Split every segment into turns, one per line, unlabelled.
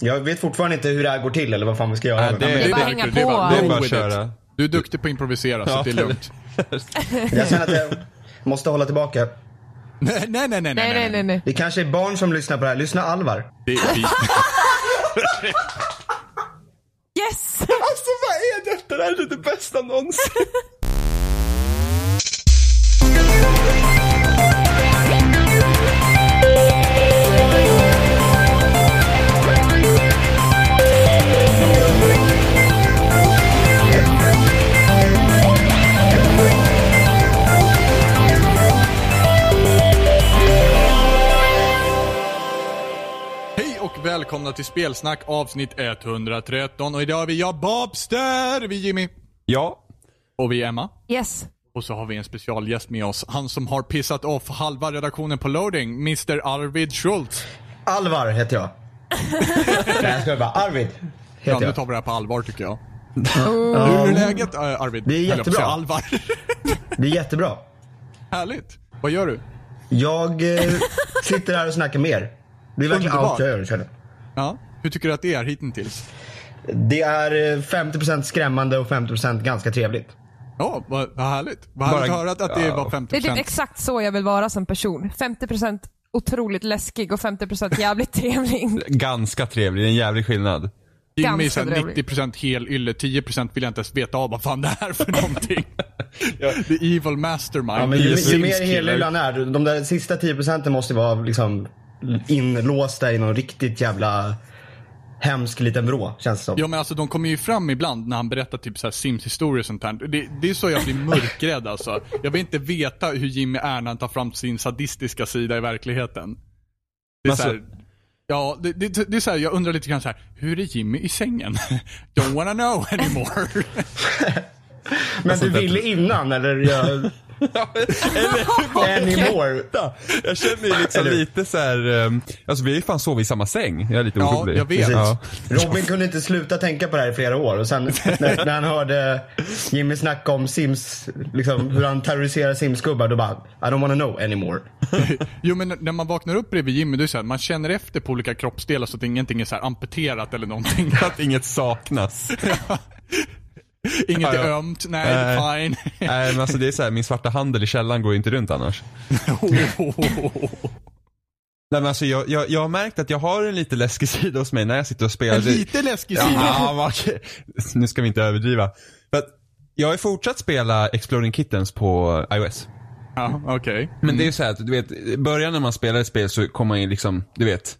Jag vet fortfarande inte hur det här går till eller vad fan vi ska göra.
Nej, det,
men-
är
det,
bara
det,
att hänga
det, är bara-
på.
det är bara att
Go with it.
köra.
Du är duktig på att improvisera, så
Ja.
det är lugnt.
Jag känner att jag måste hålla tillbaka.
Nej, nej, nej, nej,
Nej, nej, nej, nej.
Det kanske är barn som lyssnar på det här. Lyssna Alvar.
Det är vi.
Yes!
Alltså vad är detta? Det här är det bästa någonsin.
Hej och välkomna till Spelsnack avsnitt 113 och idag är vi jag Babster, vi är Jimmy
Ja.
och vi är Emma.
Yes.
Och så har vi en specialgäst med oss, han som har pissat off halva redaktionen på loading, Mr Arvid Schultz.
Alvar heter jag. Nej jag skojar bara. Arvid
Ja,
heter
nu
jag.
tar vi det här på allvar tycker jag. Hur är läget eh, Arvid?
Det är
Höll jag på att säga,
jättebra.
Alvar.
Det är jättebra.
Härligt. Vad gör du?
Jag eh, sitter här och snackar med er. Det är verkligen
Underbart.
allt jag gör känner jag.
Ja, hur tycker du att det är hittills?
Det är eh, 50% skrämmande och 50% ganska trevligt.
Ja, vad, vad härligt. Vad härligt
Bara-
att höra att, att det
ja.
var 50%.
Det är typ exakt så jag vill vara som person. 50% otroligt läskig och 50% jävligt trevlig.
Ganska trevlig, det är en jävlig skillnad.
Jimmy är
Ganska
såhär
bedrövlig.
90% hel ylle, 10% vill jag inte ens veta av vad fan det är för någonting. The evil mastermind.
Ja, men ju, ju
Sims
mer
killer.
helhyllan är, de där sista 10% måste vara liksom inlåsta i någon riktigt jävla hemsk liten vrå känns det som.
Ja men alltså de kommer ju fram ibland när han berättar typ så här Sims-historier och sånt här. Det, det är så jag blir mörkrädd alltså. Jag vill inte veta hur Jimmy är när han tar fram sin sadistiska sida i verkligheten. Det är
Alltså-
så här, ja, det, det, det är så här, jag undrar lite grann så här, hur är Jimmy i sängen? Don't wanna know anymore.
Men du ville innan eller? Jag, anymore.
Jag känner ju liksom
Eller-
lite så här. ehm, alltså vi har ju fan sovit i samma säng. Jag är lite
Ja,
orolig.
jag vet.
Precis. Ja.
Robin kunde inte sluta tänka på det här i flera år och sen när, när han hörde Jimmy snacka om Sims, liksom, hur han terroriserar Sims-gubbar då bara I don't wanna know anymore.
Jo men när man vaknar upp bredvid Jimmy, det är så här, man känner efter på olika kroppsdelar så att ingenting är så här amputerat eller någonting.
Att inget saknas.
Inget
Ja,
är
ja.
ömt, nej,
Nej.
fine.
Nej men alltså det är så här, min svarta handel i källaren går ju inte runt annars. Nej men alltså jag, jag, jag har märkt att jag har en lite läskig sida hos mig när jag sitter och spelar.
En
Det-
lite läskig sida.
Ja, ah, vad- nu ska vi inte överdriva. För att jag har ju fortsatt spela Exploding Kittens på iOS.
Ja, okej.
Men det är ju så här att du vet, i början när man spelar ett spel så kommer man ju liksom, du vet.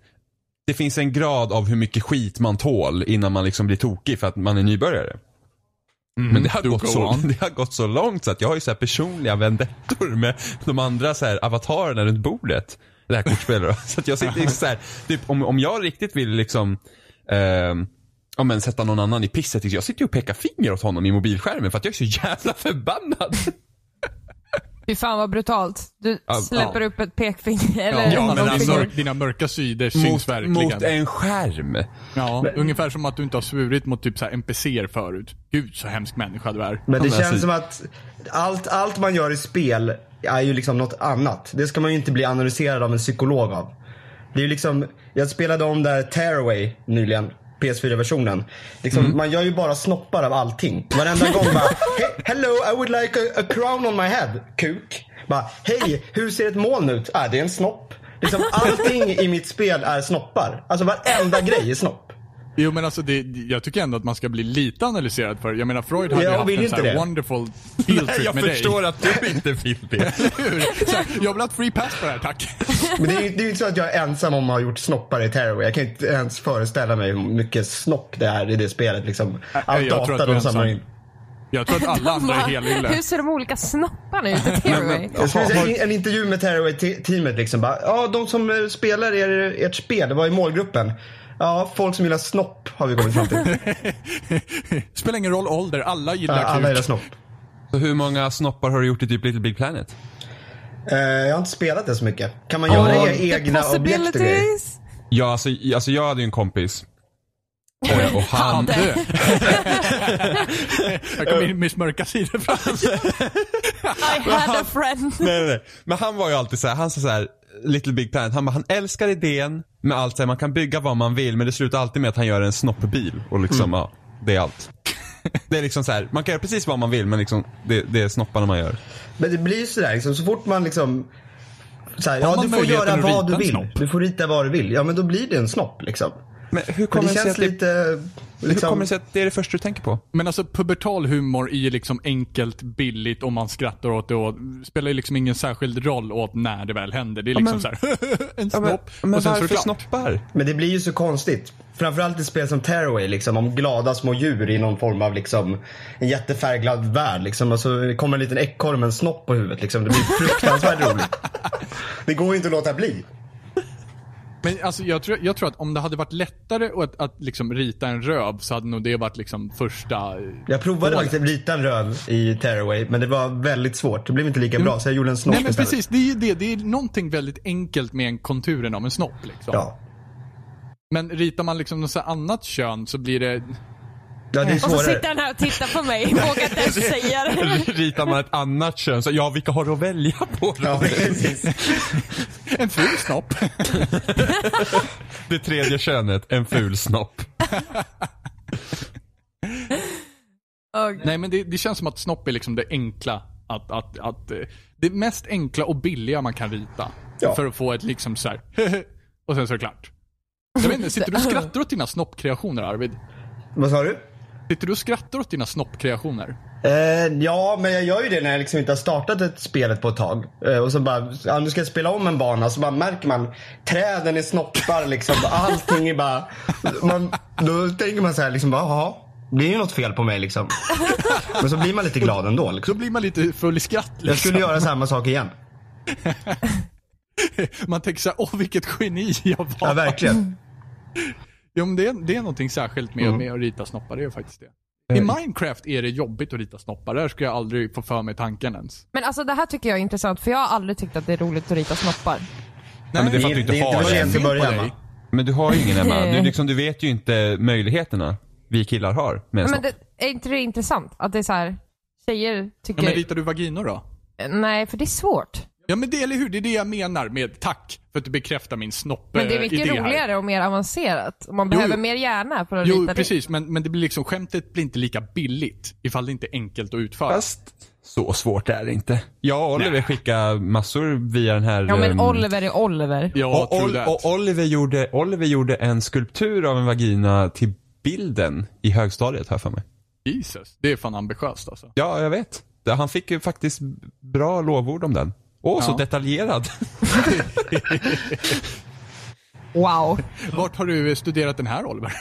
Det finns en grad av hur mycket skit man tål innan man liksom blir tokig för att man är nybörjare. Men det har,
do
gått
Mm, go
så,
on.
det har gått så långt så att jag har ju så här personliga vendettor med de andra så här avatarerna runt bordet. Det här kortspelet då. Så att jag sitter ju så här, typ om, om jag riktigt vill liksom ehm, Ja men sätta någon annan i pisset. liksom, Jag sitter ju och pekar finger åt honom i mobilskärmen för att jag är så jävla förbannad.
Fy fan vad brutalt. Du
Ja,
släpper
ja.
upp ett pekfinger eller
Ja,
ja,
men alltså,
men
dina, mörk, dina mörka sidor syns verkligen.
mot en skärm.
ja, ungefär som att du inte har svurit mot typ så här NPCer förut. Gud så hemsk människa du är.
Men det
Ja, men
känns
alltså-
som att allt, allt man gör i spel är ju liksom något annat. Det ska man ju inte bli analyserad av en psykolog av. Det är ju liksom, jag spelade om där Tearaway nyligen. PS4-versionen. Liksom,
Mm.
Man gör ju bara snoppar av allting. Varenda gång bara, "He- hello I would like a, a crown on my head, kuk. Bara, hej hur ser ett moln ut? Ah, det är en snopp. Liksom, allting i mitt spel är snoppar. Alltså varenda grej är snopp.
Jo men alltså det, jag tycker ändå att man ska bli lite analyserad för Jag menar Freud hade
Jag
ju haft
vill
en
inte
så här
det.
wonderful field trip med dig.
att du inte vill det.
Hur? Så här, jag vill ha ett free pass på det här tack.
Men det är ju det är ju inte så att jag är ensam om att ha gjort snoppar i Tearaway. Jag kan inte ens föreställa mig hur mycket snopp det är i det spelet. Liksom. All
jag tror
data
att du är
de samlar
ensam.
in.
Jag tror att alla andra är helylle.
Hur ser de olika snopparna ut i Tearaway?
Jag skulle säga en- en intervju med Tearaway-teamet. Liksom, bara, ja, de som eh, spelar er, ert spel, det var i målgruppen. Ja, folk som gillar snopp har vi kommit fram till.
Spelar ingen roll ålder, alla
Ja,
gillar
Alla
kuk.
gillar snopp.
Så hur många snoppar har du gjort i typ Little Big Planet?
Eh, jag har inte spelat det så mycket. Kan man
Ja,
göra
The
egna objekt och grejer?
possibilities.
Ja, alltså, alltså jag hade ju en kompis. Eh, Och han...
Hade. Här kommer Miss Mörka sidor fram.
I had a friend.
nej, nej, nej. Men han var ju alltid så här, han sa så här, Little Big Planet, han, bara, han älskar idén med allt, så här, man kan bygga vad man vill men det slutar alltid med att han gör en snoppbil och liksom, ja, det är allt. Det är liksom så här, man kan göra precis vad man vill men liksom, det, det är snopparna man gör.
Men det blir ju sådär liksom, så fort man liksom så här, ja
man
du får
möjligheten
göra
att
vad
rita
du
en
vill.
snopp?
Du får rita vad du vill. Ja men då blir det en snopp liksom.
Men hur
Men det
kommer det sig
känns
att det,
lite,
hur
liksom,
kommer det sig att det är det första du tänker på?
Men alltså pubertal humor är ju liksom enkelt, billigt och man skrattar åt det och spelar ju liksom ingen särskild roll åt när det väl händer. Det är liksom
men-
såhär, en
Ja,
snopp.
men, men
och sen så är det
varför
klart.
snoppar?
men det blir ju så konstigt. Framförallt i spel som Tearaway liksom, om glada små djur i någon form av liksom, en jättefärgglad värld liksom. Och så kommer en liten ekorre med en snopp på huvudet liksom. Det blir fruktansvärt roligt. Det går ju inte att låta bli.
Men alltså jag tror, jag tror att om det hade varit lättare att, att liksom rita en röv så hade nog det varit liksom första...
Jag provade faktiskt att rita en röv i Tearaway, men det var väldigt svårt. Det blev inte lika bra, så jag gjorde en snopp
Nej men
istället.
precis, det är ju det. Det är någonting väldigt enkelt med en konturen av en snopp liksom.
Ja.
Men ritar man liksom något så här annat kön så blir det...
ja, det är
Och så
svårare.
sitter han här och tittar på mig. Vågar inte ens säga det.
Ritar man ett annat kön, så ja vilka har du att välja på? då?
Ja, precis.
En ful snopp.
Det tredje könet, en ful snopp.
Och,
Nej men det, det känns som att snopp är liksom det enkla. Att, att, att, eh, det mest enkla och billiga man kan rita.
Ja.
För att få ett liksom så här. och sen så är det klart. Jag vet inte, sitter du och skrattar åt dina snoppkreationer Arvid?
Vad sa du?
Sitter du och skrattar åt dina snoppkreationer?
Eh, ja, men jag gör ju det när jag liksom inte har startat ett spelet på ett tag. Eh, och så bara, ja, nu ska jag spela om en bana, så bara märker man träden är snoppar liksom. Allting är bara... Man, då tänker man så här liksom, bara, jaha, det är ju något fel på mig liksom. Men så blir man lite glad ändå
Då
liksom.
blir man lite full i skratt liksom.
Jag skulle göra samma sak igen.
liksom. Man tänker såhär, åh vilket geni jag var.
Ja, verkligen.
Jo, men det, är, det är någonting särskilt
Mm.
med, med att rita snoppar, det är faktiskt det. I
Eh.
Minecraft är det jobbigt att rita snoppar, där skulle jag aldrig få för mig tanken ens.
men alltså det här tycker jag är intressant för jag har aldrig tyckt att det är roligt att rita snoppar.
Nej, men det är för att
Det är
du inte
det är inte
har
för
det.
sent att börja
Fel på
Emma.
dig.
Men du har ju ingen Emma. Du,
Nej.
liksom, du vet ju inte möjligheterna vi killar har med en
Men
snopp.
det, är inte det intressant att det är så här tjejer
Ja,
tycker...
men ritar du vaginor då?
Nej, för det är svårt.
Ja men det, eller hur? Det är det jag menar med tack för att du bekräftar min snopp
Men det är
eh,
mycket
idé här.
roligare och mer avancerat. Och man
Jo,
behöver
jo.
mer hjärna för att
Jo,
rita
precis. Men, men det blir liksom, skämtet blir inte lika billigt ifall det inte är enkelt att utföra.
Fast så svårt är det inte. Jag och Oliver skickade massor via den här...
det. Ja, men
ehm,
Oliver är Oliver.
Ja,
Och,
true
Ol-
that.
och Oliver, gjorde, Oliver gjorde en skulptur av en vagina till bilden i högstadiet har jag för mig.
Jesus, det är fan ambitiöst alltså.
Ja, jag vet. Det- Han fick ju faktiskt bra lovord om den. Åh, så
Ja.
detaljerad.
Wow.
Vart har du eh, studerat den här Oliver?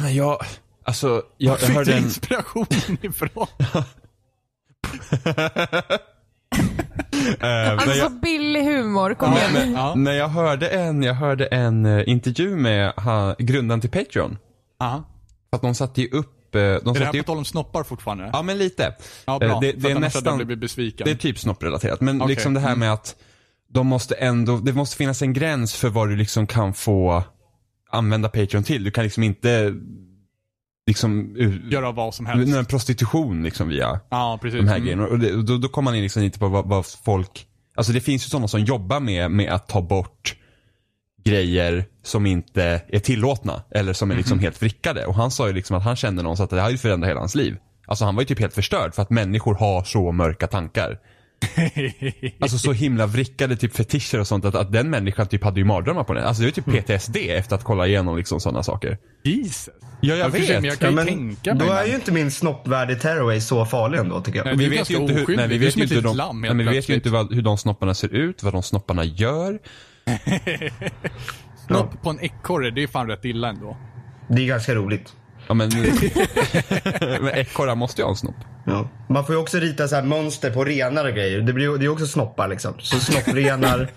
Men jag, alltså, jag, jag
Fick
hörde
du
en...
inspirationen ifrån?
eh, när
Alltså
jag-
billig humor, kom igen.
Men, men, ja.
När jag hörde en, jag hörde en eh, intervju med han, grundaren till Patreon.
Aha.
För att de satte ju upp, eh, de
Är det här
satte ju
på
upp,
tal om snoppar fortfarande?
ja men lite.
Ja, bra.
Eh, det,
För
det
att
är
annars hade jag
nästan,
blivit besviken.
det är typ snopprelaterat. Men
Okej.
liksom det här med att de måste ändå, det måste finnas en gräns för vad du liksom kan få använda Patreon till. Du kan liksom inte, liksom, u-
Göra vad som helst.
någon prostitution liksom via
Ja, precis.
de här
Mm.
grejerna. Och det, och då, då kommer man in liksom lite på vad, vad folk, alltså det finns ju sådana som jobbar med, med att ta bort grejer som inte är tillåtna eller som är
Mhm.
liksom helt vrickade. Och han sa ju liksom att han kände någon så att det här har ju förändrat hela hans liv. Alltså han var ju typ helt förstörd för att människor har så mörka tankar. Alltså så himla vrickade typ fetischer och sånt att, att den människan typ hade ju mardrömmar på det. Alltså det är
Mm.
ju typ PTSD efter att kolla igenom liksom sådana saker.
Jesus.
Ja, jag
för sig, Men
vet.
jag
Ja,
kan ju
men,
tänka
då
mig.
är
men-
ju inte min snoppvärld i Tearaway så farlig ändå tycker jag.
Nej,
vi
Du är
vet ju
ganska
inte hur,
oskyldig.
nej, vi
Du är
vet
som
ju
ett
inte hur
litet
de,
lamm
nej,
helt
men vi vet ju
plötsligt.
inte vad, hur de snopparna ser ut, vad de snopparna gör.
Snopp på en ekorre, det är fan rätt illa ändå.
Det är ganska roligt.
Ja men, men ekorrar måste ju ha en snopp.
Ja. Man får ju också rita så här mönster på renar och grejer. Det, blir, det är också snoppar liksom. Så snopprenar,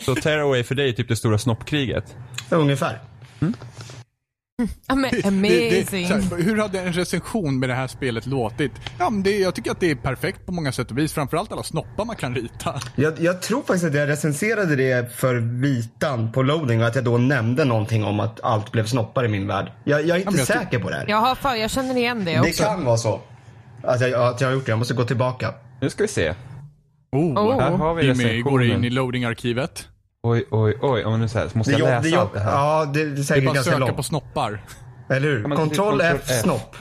Så tearaway för dig är typ det stora snoppkriget.
ja, ungefär.
Ja, men
Det, det,
amazing.
så här, hur hade en recension med det här spelet låtit? Ja, men det, jag tycker att det är perfekt på många sätt och vis. Framförallt alla snoppar man kan rita.
Jag, jag tror faktiskt att jag recenserade det för vitan på loading och att jag då nämnde någonting om att allt blev snoppar i min värld. Jag, jag är inte
men jag tror-
säker på det här.
Jag har för, jag känner igen det
det
också.
kan vara så. Att jag, att jag har gjort det. Jag måste gå tillbaka.
Nu ska vi se.
Oh,
Oh.
Här har vi
Jimmy går in i
recensionen.
loading-arkivet.
Oj, oj, oj. Om nu så här, så måste
Det
jag
jobb, det
läsa
jobb,
allt det här.
ja, det är
Det är
säkert
bara att
ganska
söka
långt.
på snoppar.
Eller hur?
men det är
Kontroll
Ctrl
F,
F.
snopp.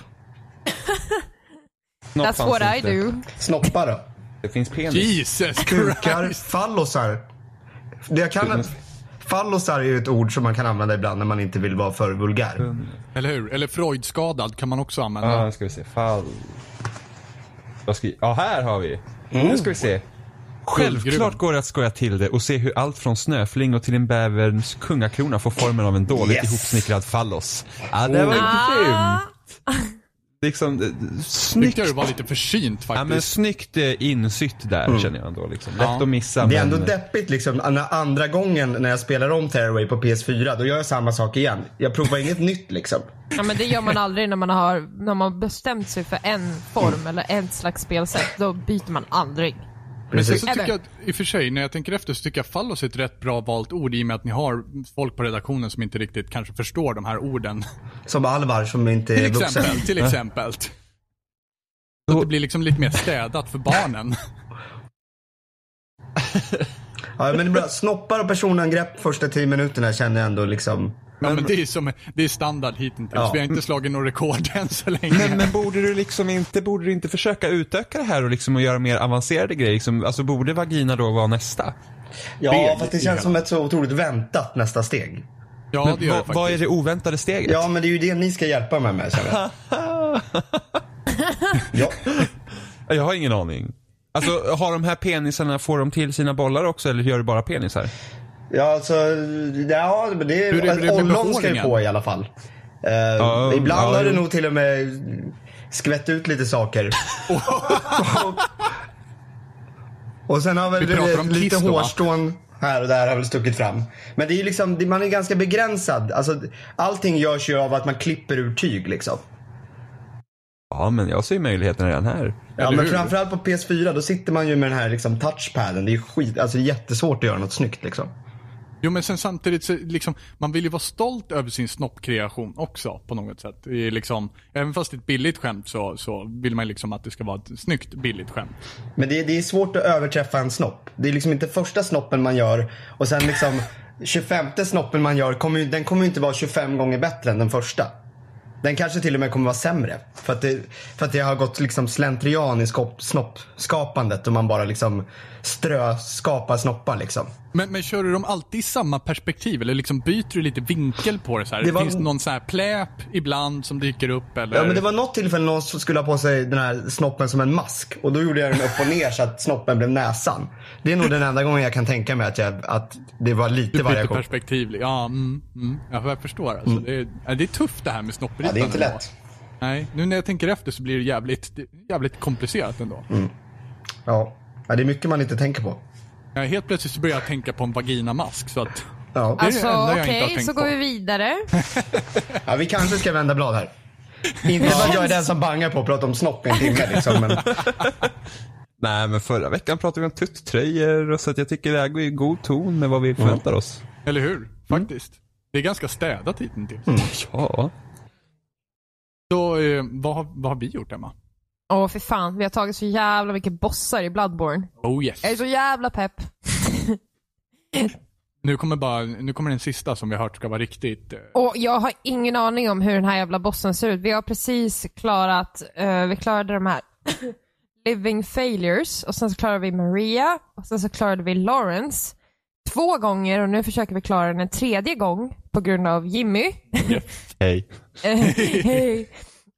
Snopp
That's
fanns
what I
inte.
do. Ah.
Snoppa då.
Det finns penis.
Jesus
Kukar,
Christ!
fallosar. Det jag kan... Fallosar är ju ett ord som man kan använda ibland när man inte vill vara för vulgär.
Mm. Eller hur? Eller Freudskadad kan man också använda.
Ja, nu ska vi se. Fall. Vad ska Ja, här har vi.
Mm.
Nu ska vi se. Självklart
Guldgruvan.
går det att skoja till det och se hur allt från snöflingor till en bäverns kungakrona får formen av en dåligt
Yes. Oh.
ihopsnickrad fallos. Ja, det var
Ah.
grymt. Liksom, eh, snyggt.
Tyckte jag det var lite försynt faktiskt.
Ja, men snyggt eh, insytt där känner jag ändå. Liksom. Lätt
Ja.
att missa
Mm. Det är ändå
men...
deppigt liksom. När andra gången när jag spelar om Tearaway på PS4, då gör jag samma sak igen. Jag provar inget nytt liksom.
Ja, men det gör man aldrig när man har när man bestämt sig för en
Mm.
form eller ett slags spelsätt. Då byter man aldrig.
Men sen så
Precis.
Eller-
tycker jag, att- i och för sig, när jag tänker efter så tycker jag fallos är ett rätt bra valt ord i och med att ni har folk på redaktionen som inte riktigt kanske förstår de här orden.
Eh,
Som Alvar som inte
Till
är vuxen.
exempel. Till exempel. Så att det blir liksom lite mer städat för barnen.
Ja, men det är bra. Snoppar och personangrepp första tio minuterna känner jag ändå liksom.
Ja, men det är som, det är standard hittills.
Ja.
Vi har inte slagit några rekord än så länge.
Men, men borde du liksom inte, borde du inte försöka utöka det här och liksom och göra mer avancerade grejer? Liksom, alltså borde vagina då vara nästa?
Ja,
Fel
fast
i
det känns
det.
som ett så otroligt väntat nästa steg.
ja, det gör det
Vad- vad är
faktiskt.
det oväntade steget?
Ja, men det är ju det ni ska hjälpa mig med känner jag. ja.
Jag har ingen aning. Alltså har de här penisarna, får de till sina bollar också eller gör du bara penisar?
ja, alltså. Ja, men det
Hur är det med
är... Ollon ska ju
behåringen?
på i alla fall. Eh,
Ja,
ibland
ja,
har det
jo.
nog till och med skvätt ut lite saker. och, och sen har väl
Vi pratar om
lite
kiss då, va?
hårstrån här och där har väl stuckit fram. Men det är ju liksom, det- man är ganska begränsad. Alltså, allting görs ju av att man klipper ur tyg liksom.
Ja, men jag ser ju möjligheterna redan här.
Ja,
Eller
men
hur?
framförallt på PS4 då sitter man ju med den här liksom, touchpaden. Det är ju skit, alltså det är jättesvårt att göra något snyggt liksom.
Jo, men sen samtidigt så liksom, man vill ju vara stolt över sin snoppkreation också på något sätt. Det är liksom, även fast det är ett billigt skämt så, så vill man liksom att det ska vara ett snyggt billigt skämt.
Men det, det är svårt att överträffa en snopp. Det är liksom inte första snoppen man gör och sen liksom 25 snoppen man gör, kommer, ju- den kommer ju inte vara 25 gånger bättre än den första. Den kanske till och med kommer vara sämre. För att det, för att det har gått liksom slentrian i skop, snoppskapandet och man bara liksom strö, skapar snoppar liksom.
Men, men kör du dem alltid i samma perspektiv eller liksom byter du lite vinkel på det så här?
Det var-
Finns det någon så här pläp ibland som dyker upp eller?
Ja men det var något tillfälle någon som skulle ha på sig den här snoppen som en mask. Och då gjorde jag den upp och ner så att snoppen blev näsan. Det är nog den enda gången jag kan tänka mig att, jag, att det var lite
Du byter
variation.
perspektiv. Ja, mm, mm. Ja, jag förstår. Alltså. Det, är, ja, det är tufft det här med
Ja,
snopprytan.
det är inte
ändå.
lätt.
Nej, nu när jag tänker efter så blir det jävligt, det är jävligt komplicerat ändå.
Mm. Ja. ja, det är mycket man inte tänker på.
Ja, helt plötsligt så börjar jag tänka på en vaginamask så att
Ja.
är det
Alltså
enda jag inte
okej,
har tänkt
så
på.
går vi vidare.
ja, vi kanske ska vända blad här. Inte att jag är den som bangar på att prata om snopp i en timme liksom. Men,
Nej, men förra veckan pratade vi om tuttröjor och så att jag tycker det här går i god ton med vad vi förväntar oss.
Eller
Mm.
hur? Faktiskt. Det är ganska städat hittills.
Ja.
Så eh, vad, har- vad har vi gjort Emma?
Åh för fan, vi har tagit så jävla mycket bossar i Bloodborne.
Oh yes.
Jag är så jävla pepp.
Nu kommer, bara, nu kommer den sista som vi har hört ska vara riktigt... eh,
Och jag har ingen aning om hur den här jävla bossen ser ut. Vi har precis klarat, eh, vi klarade de här Living Failures och sen så klarade vi Maria och sen så klarade vi Lawrence två gånger och nu försöker vi klara den en tredje gång på grund av Jimmy.
Hej.
Eh, hej.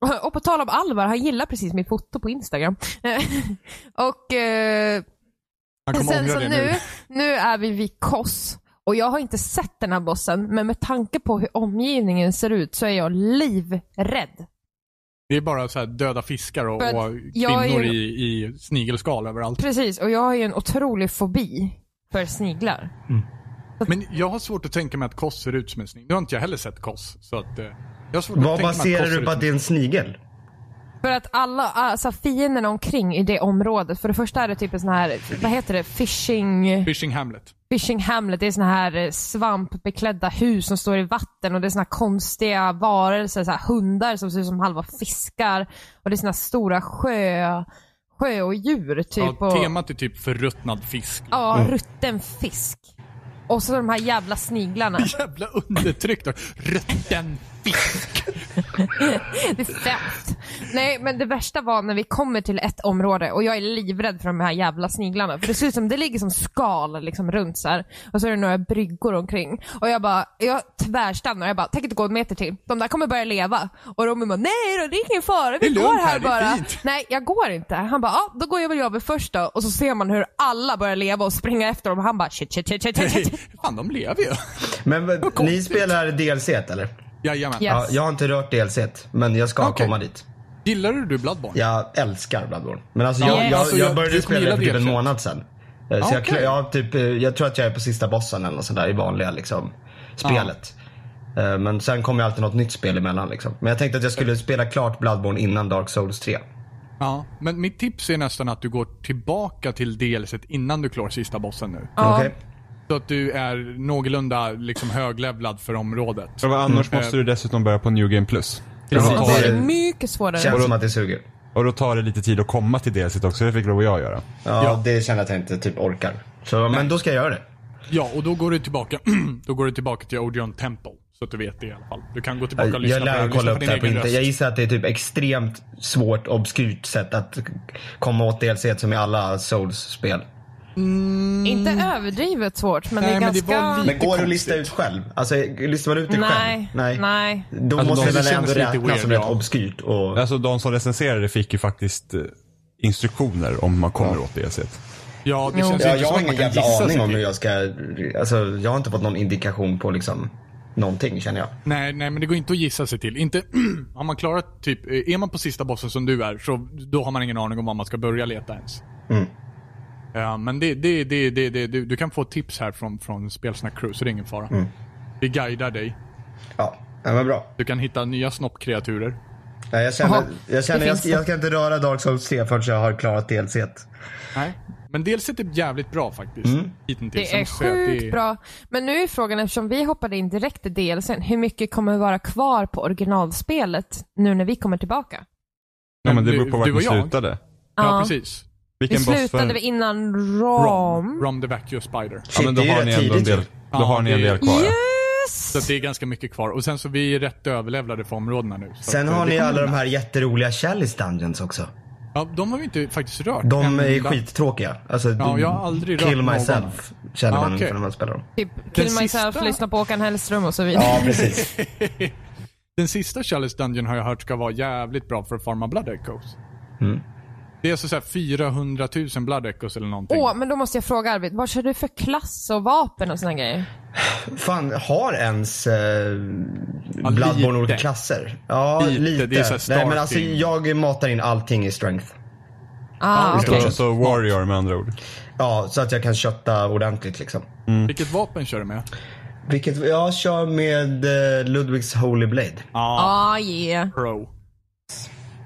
Och- och på tal om Alvar, han gillar precis mitt foto på Instagram. Eh, och eh,
Han kommer
Sen
ångra
så
det
nu, nu är vi vid Koss och jag har inte sett den här bossen, men med tanke på hur omgivningen ser ut så är jag livrädd.
Det är bara så här döda fiskar och,
För att
och
jag är
kvinnor
ju-
i, i snigelskal överallt.
Precis, och jag har ju en otrolig fobi för sniglar.
Men jag har svårt att tänka mig att Koss ser ut som en snigel. Nu har inte jag heller sett Koss. Så att, eh, jag har svårt att
vad
tänka mig
baserar
att Koss ser
du
ut
på att
som
det är en snigel?
För att alla alltså, fienderna omkring i det området, för det första är det typ en sån här, vad heter det, fishing,
Fishing
Typ
Hamlet.
fishing hamlet. Det är såna här eh, svampbeklädda hus som står i vatten och det är såna här konstiga varelser, så här hundar som ser ut som halva fiskar. Och det är såna här stora sjö, sjö och djur typ.
ja,
och,
temat är typ förruttnad fisk.
ja rutten fisk. Och så de här jävla sniglarna.
Jävla undertryckt. Rutten fisk.
Det är fett. Nej, men det värsta var när vi kommer till ett område och jag är livrädd för de här jävla sniglarna. För det ser ut som, det ligger som skal liksom runt så här. Och så är det några bryggor omkring. Och jag bara, jag tvärstannar. Jag bara, tänk inte gå en meter till. De där kommer börja leva. Och Robin bara, nej då, det är ingen fara. Vi
Det är
går
lugnt
här,
här, det är
bara.
fint.
Nej, jag går inte. Han bara, ja, då går jag väl jag över först då. Och så ser man hur alla börjar leva och springa efter dem. Och han bara, shit, shit, shit, shit, shit, shit.
Nej, Fan, de lever ju.
Men vad- ni spelar DLC eller?
Jajamän.
Ja.
Ja, jag har inte rört DLC, men jag ska
Okej.
komma dit.
Gillar du Bloodborne?
Jag älskar Bloodborne. Men alltså,
Ja,
jag, jag,
alltså, jag-
jag
du
började
kommer
spela det för
gilla
typ en
DLC.
månad sedan. Eh, Så jag,
Okej.
kl- jag, har typ, eh, jag tror att jag är på sista bossen eller något sånt där i vanliga liksom, spelet. Eh, Men sen kommer ju alltid något nytt spel emellan. Liksom. Men jag tänkte att jag skulle spela klart Bloodborne innan Dark Souls 3.
Ja. Men mitt tips är nästan att du går tillbaka till DLC et innan du klarar sista bossen nu.
Ja.
Okej?
Så att du är någorlunda liksom höglevlad för området.
Och annars måste du dessutom börja på New Game Plus.
Precis.
Och då
Och så
tar
är det
det,
mycket svårare.
Känns som att det suger.
och då tar det lite tid att komma till DLC också, det fick Rob och jag göra.
Ja, det känner jag att jag inte typ orkar. Så, men då ska jag göra det.
Ja, och då går du tillbaka, då går du tillbaka till Odeon Temple. Så att du vet det i alla fall. Du kan gå tillbaka och
Jag,
lyssna
jag
på det
lär
här, lyssna
kolla
på
upp det
din
här på
egen
internet. Jag
röst.
gissar att det är typ extremt svårt, obskyrt sätt att komma åt DLC et som i alla Souls-spel.
Inte överdrivet svårt, men
Nej,
det är
men det
ganska...
var lite-
Men går det att
konstigt.
lista ut själv? Alltså, listar man ut det själv?
Nej, nej.
Då
Alltså,
måste
de-
det väl
det
ändå
känns lite
räknas
weird,
som
ja.
rätt obskyrt och...
Alltså de som recenserade fick ju faktiskt eh, instruktioner om man kommer åt DLC. et.
Ja, det
Jo.
känns
Ja,
inte
jag typ-
som
har
att
ingen
man kan
jävla
gissa
aning
sig
om
till.
hur jag ska... Alltså, jag har inte fått någon indikation på liksom någonting känner jag.
Nej, nej, men det går inte att gissa sig till. Inte, har man klarat typ, är man på sista bossen som du är, så då har man ingen aning om var man ska börja leta ens.
Mm.
Ja, men det, det, det, det, det, du, du kan få tips här från, från Spelsnack Crew, så det är ingen fara.
Mm.
Vi guidar dig.
Ja, ja men bra.
Du kan hitta nya snoppkreaturer.
Nej, jag känner,
Jaha,
jag, känner
det
jag,
finns det.
jag ska inte röra Dark Souls 3 förrän jag har klarat DLC. et.
Nej. Men dels är det typ jävligt bra faktiskt.
Mm.
Hittills.
Det är sjukt bra. Men nu är frågan, eftersom vi hoppade in direkt i DLCn, hur mycket kommer vara kvar på originalspelet nu när vi kommer tillbaka?
Ja, men det
du-
beror på vart
du och
ni
jag?
slutade.
Ja,
Ja.
precis.
Vi
Vilken boss
slutade
för...
vi innan
Mm.
Rom.
Rom the Vacuous Spider.
Ja, men då
Shit, det är
har
ju
ni
rätt
ändå
tidigt
en del,
ju.
då
Ja,
har ni en
det-
del kvar. ja.
Yes!
Så att det är ganska mycket kvar. Och sen så vi är rätt överlevlade för områdena nu. Så
Sen
att, eh,
har
det
ni
kommer-
alla de här jätteroliga Chalice Dungeons också.
Ja, de har vi inte faktiskt rört.
De
en
är
enda.
skittråkiga. Alltså,
Ja, jag har aldrig rört
Kill
någon.
myself känner
Ja,
man
okej.
ungefär när man spelar dem.
Typ,
Den
kill myself,
sista-
lyssna på Håkan Hellström och så vidare.
precis.
Den sista Chalice Dungeon har jag hört ska vara jävligt bra för att farma Blood Echoes.
Mm.
Det är alltså såhär 400 000 Blood Echoes eller någonting.
Åh, men då måste jag fråga Arvid, vad kör du för klass och vapen och såna grejer?
Fan, har ens eh, Bloodborne olika klasser? Ja,
Lite,
lite.
det är så här
Nej, men alltså,
starting.
jag matar in allting i strength.
Ah,
just det.
okej.
Så, så Warrior med andra ord.
Ja, så att jag kan kötta ordentligt liksom.
Vilket vapen kör du med?
Vilket jag kör med eh, Ludwigs Holy Blade.
Ah, yeah.
Pro.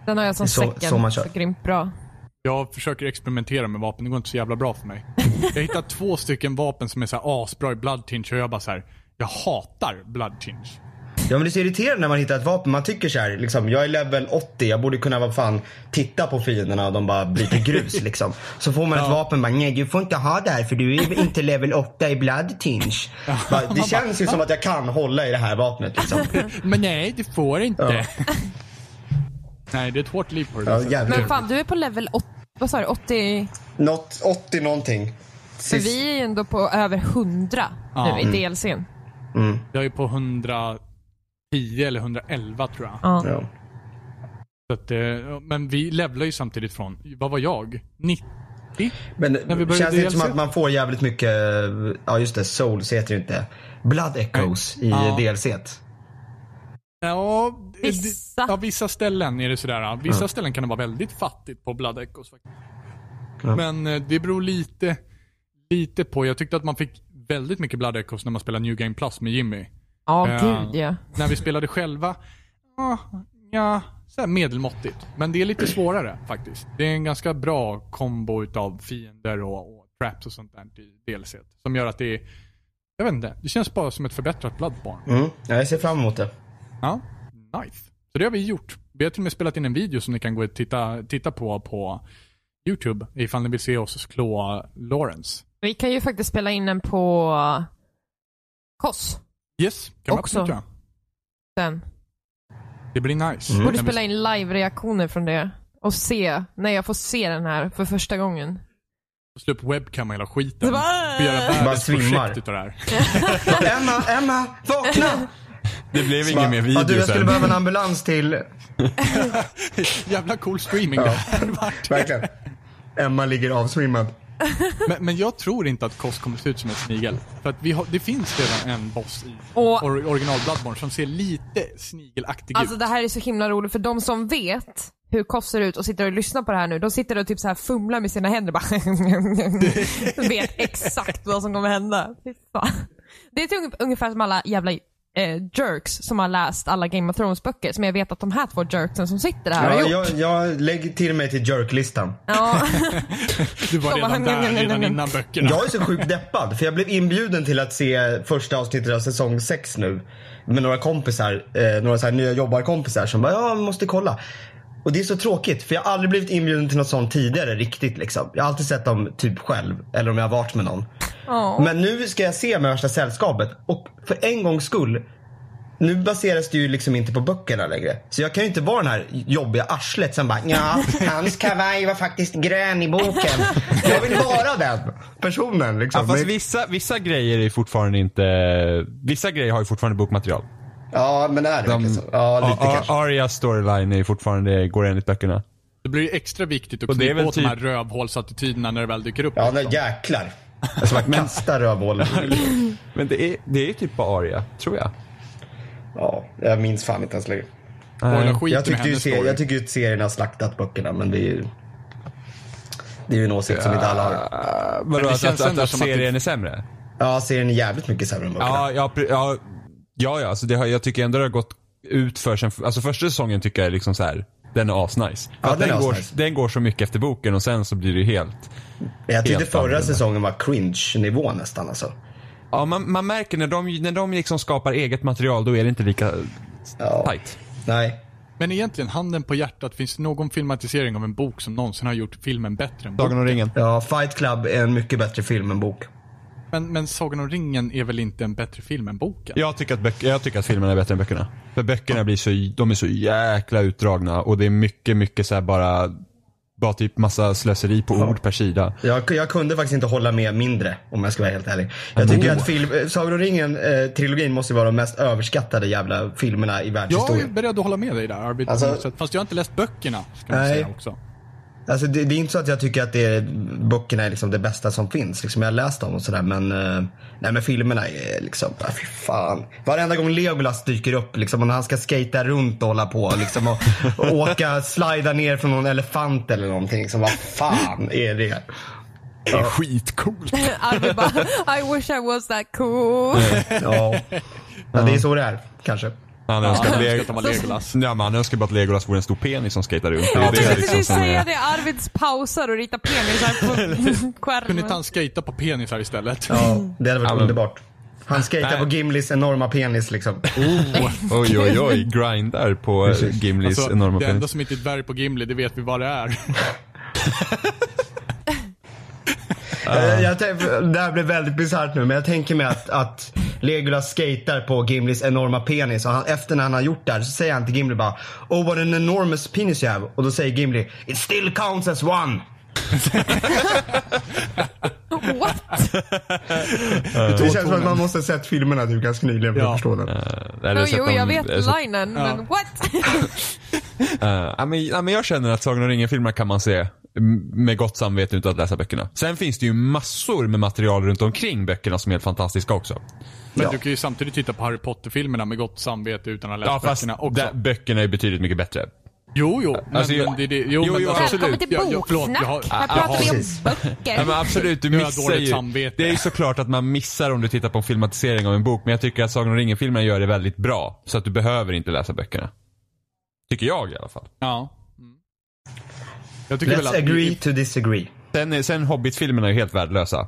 Den har jag som
Så-
second.
så
Så,
man kör.
grymt bra.
Jag försöker experimentera med vapen, det går inte så jävla bra för mig. Jag hittar två stycken vapen som är så här asbra i Blood Tinge och jag bara så här. jag hatar Blood Tinge.
Ja men det är så irriterande när man hittar ett vapen. Man tycker så här, liksom, jag är level 80, jag borde kunna vad fan titta på fienderna och de bara blir till grus liksom. Så får man ett vapen bara, nej du får inte ha det här för du är inte level 8 i blood tinge. Bara, det känns ju som att jag kan hålla i det här vapnet liksom.
Men nej, du får inte. nej, det är ett hårt liv på det
Ja,
där
jävligt.
Men fan, du är på level 8, vad sa du, 80?
Något, 80 någonting.
För
Sist.
vi är ju ändå på över 100
Ja.
nu i DLCn.
Jag är på 110 eller 111 tror jag.
Ja.
Ja.
Så att, eh, men vi levlar ju samtidigt från, vad var jag? 90?
Men
När vi började
känns det inte
DLC?
som att man får jävligt mycket, ja just det, souls heter det inte. Blood echoes i
Ja.
DLC.
Ja, eh, det-
Vissa.
Ja, vissa ställen är det sådär. ja. Vissa ställen kan det vara väldigt fattigt på Blood Echoes faktiskt.
Ja.
Men eh, det beror lite, lite på. Jag tyckte att man fick väldigt mycket Blood Echoes när man spelade New Game Plus med Jimmy.
Ja,
Ja.
gud ja.
När vi spelade själva, ah, ja, såhär medelmåttigt. Men det är lite svårare faktiskt. Det är en ganska bra kombo utav fiender och, och traps och sånt där i DLC. Som gör att det är, jag vet inte, det känns bara som ett förbättrat Bloodborne.
Mm. Ja, jag ser fram emot det.
Ja, nice. Så det har vi gjort. Vi har till och med spelat in en video som ni kan gå och titta, titta på på YouTube ifall ni vill se oss klå Lawrence.
Vi kan ju faktiskt spela in den på uh, Koss
Yes, kan man
Också.
absolut göra.
Mm.
sen.
Det blir nice.
Mm. Borde
Kan vi-
spela in live-reaktioner från det och se när jag får se den här för första gången.
slå upp webcam och hela skiten.
Så bara-
Vi gör världens
Bara svimmar.
projekt utav det här.
Emma, Emma, vakna!
Det blev ingen mer video
ja, du, jag skulle
sen.
behöva en ambulans till...
Jävla cool streaming det hade varit.
Verkligen. Emma ligger avsvimmad.
men, men jag tror inte att Koss kommer se ut som en snigel. För att vi har, det finns redan en boss i
Och-
or, original Bloodborne som ser lite snigelaktig
Alltså
ut.
det här är så himla roligt för de som vet hur Koss ser ut och sitter och lyssnar på det här nu, de sitter och typ så här fumlar med sina händer bara vet exakt vad som kommer hända. Fy fan. Det är typ ungefär som alla jävla eh, jerks som har läst alla Game of Thrones böcker som jag vet att de här två jerksen som sitter här har
Ja,
gjort.
jag, jag lägger till mig till jerklistan.
Ja.
Du var
Så bara,
redan
nej, nej,
där,
nej,
redan
nej.
innan böckerna.
Jag är så sjukt deppad för jag blev inbjuden till att se första avsnittet av säsong 6 nu. Med några kompisar, eh, några så här nya jobbarkompisar som bara ja, vi måste kolla. Och det är så tråkigt för jag har aldrig blivit inbjuden till något sånt tidigare riktigt liksom. Jag har alltid sett dem typ själv eller om jag har varit med någon.
Ja.
Men nu ska jag se med värsta sällskapet och för en gångs skull nu baseras det ju liksom inte på böckerna längre. Så jag kan ju inte vara den här jobbiga arslet som bara ja, hans kavaj var faktiskt grön i boken. Jag vill vara den personen liksom.
Ja, fast
Men-
vissa, vissa grejer är fortfarande inte... Vissa grejer har ju fortfarande bokmaterial.
Ja, men är det verkligen så? Ja, lite
A-
kanske.
A- Arias storyline är fortfarande, går enligt böckerna.
Det blir ju extra viktigt att
Och det är
knipa
väl
åt de
typ-
här rövhålsattityderna när det väl dyker upp.
Ja,
liksom.
nej, jäklar. Alltså, Jag ska bara kasta rövhålet.
Men det är, det är typ bara Aria, tror jag.
Ja, jag minns fan inte ens längre.
Spoila skiten
Jag
med
tycker, ju
hennes
se,
story.
jag tycker ju att serien har slaktat böckerna, men det är ju... Det är ju en åsikt som inte alla har.
Uh, vadå,
det
att,
känns
att, att,
ändå
att
som att
serien
det-
är sämre?
Ja, serien är jävligt mycket sämre än böckerna.
Ja, ja, pre- ja, ja, ja alltså det har, jag tycker ändå det har gått ut för sen, alltså första säsongen tycker jag är liksom så här. Den är asnice. För
Ja,
att
den är
den, går,
asnice.
den går så mycket efter boken och sen så blir det ju helt...
jag tyckte
helt
förra
annorlunda.
säsongen var cringe-nivå nästan alltså.
Ja, man, man märker när de, när de liksom skapar eget material, då är det inte lika
Ja.
tight.
Nej.
Men egentligen, handen på hjärtat, finns det någon filmatisering av en bok som någonsin har gjort filmen bättre än boken?
Sagan om ringen.
Ja, Fight Club är en mycket bättre film än bok.
Men, men Sagan om ringen är väl inte en bättre film än boken?
Jag tycker, att böcker, jag tycker att filmerna är bättre än böckerna. För böckerna blir så, de är så jäkla utdragna och det är mycket, mycket så här bara, bara typ massa slöseri på ord per sida.
Jag, jag kunde faktiskt inte hålla med mindre om jag ska vara helt ärlig. Jag tycker att film, eh, Sagan om ringen-trilogin måste ju vara de mest överskattade jävla filmerna i
Jag
världshistorien.
är beredd att hålla med dig där, Arvid.
Alltså-
på något sätt. Fast jag har inte läst böckerna, ska man
Nej.
säga också.
Alltså det, det är inte så att jag tycker att det är, böckerna är liksom det bästa som finns. Liksom jag har läst dem och sådär men, eh, nej, men filmerna är liksom, ah, fy fan. Varenda gång Legolas dyker upp liksom, och när han ska skata runt och hålla på liksom, och, och åka, slida ner från någon elefant eller någonting. Liksom, vad fan är det?
Det är skitcoolt.
Arvid bara, I wish I was that cool.
Ja. ja, det är så det är kanske.
Han
Ja,
önskar att
jag önskar att de var
Leg-
Legolas.
Ja, men han önskar bara att Legolas vore en stor penis som skejtar runt.
Jag
är liksom
tänkte precis
som
säga
är-
det, Arvids pausar och ritar penisar på
Kunde inte han
skärmen.
skejta på penisar istället?
Ja, det hade varit
Ja, men-
underbart. Han skejtar
Nej.
på Gimlis enorma penis liksom.
Oj, oj, oj. Grindar på Gimlis
Alltså,
enorma
det enda
penis.
som inte är dvärg på Gimli, det vet vi vad det är.
Eh, Jag tänk- det här blir väldigt bisarrt nu men jag tänker mig att, att Legolas skater på Gimlis enorma penis och han, efter när han har gjort det här så säger han till Gimli bara Oh what an enormous penis you have. Och då säger Gimli It still counts as one.
What?
Det känns som att man måste ha sett filmerna typ ganska nyligen för
Ja.
att förstå den.
Eh, eller
Jo,
så att
jo,
de-
jag vet
eh, så att-
linen, men what?
eh, ja, men, ja, men jag känner att Sagan om ringen-filmerna kan man se m- med gott samvete utan att läsa böckerna. Sen finns det ju massor med material runt omkring böckerna som är helt fantastiska också.
Men
Ja.
du kan ju samtidigt titta på Harry Potter-filmerna med gott samvete utan att ha läst
Ja, fast
böckerna också.
där, böckerna är betydligt mycket bättre.
Jo, jo. Men,
Alltså, jag-
men det, det, jo,
jo,
men
jo,
alltså,
absolut.
Välkommen till
Jag- jag- förlåt, jag har-
boksnack. Här
jag
pratar
har-
vi om
precis.
Ja, men
böcker.
absolut, du
Nu har jag
missar
dåligt
ju.
samvete.
Det är ju såklart att man missar om du tittar på en filmatisering av en bok. Men jag tycker att Sagan om ringen-filmerna gör det väldigt bra. Så att du behöver inte läsa böckerna. Tycker jag i alla fall.
Ja. Mm. Jag tycker väl
Let's
att...
agree to disagree.
Sen, är- sen Hobbit-filmerna är ju helt värdelösa.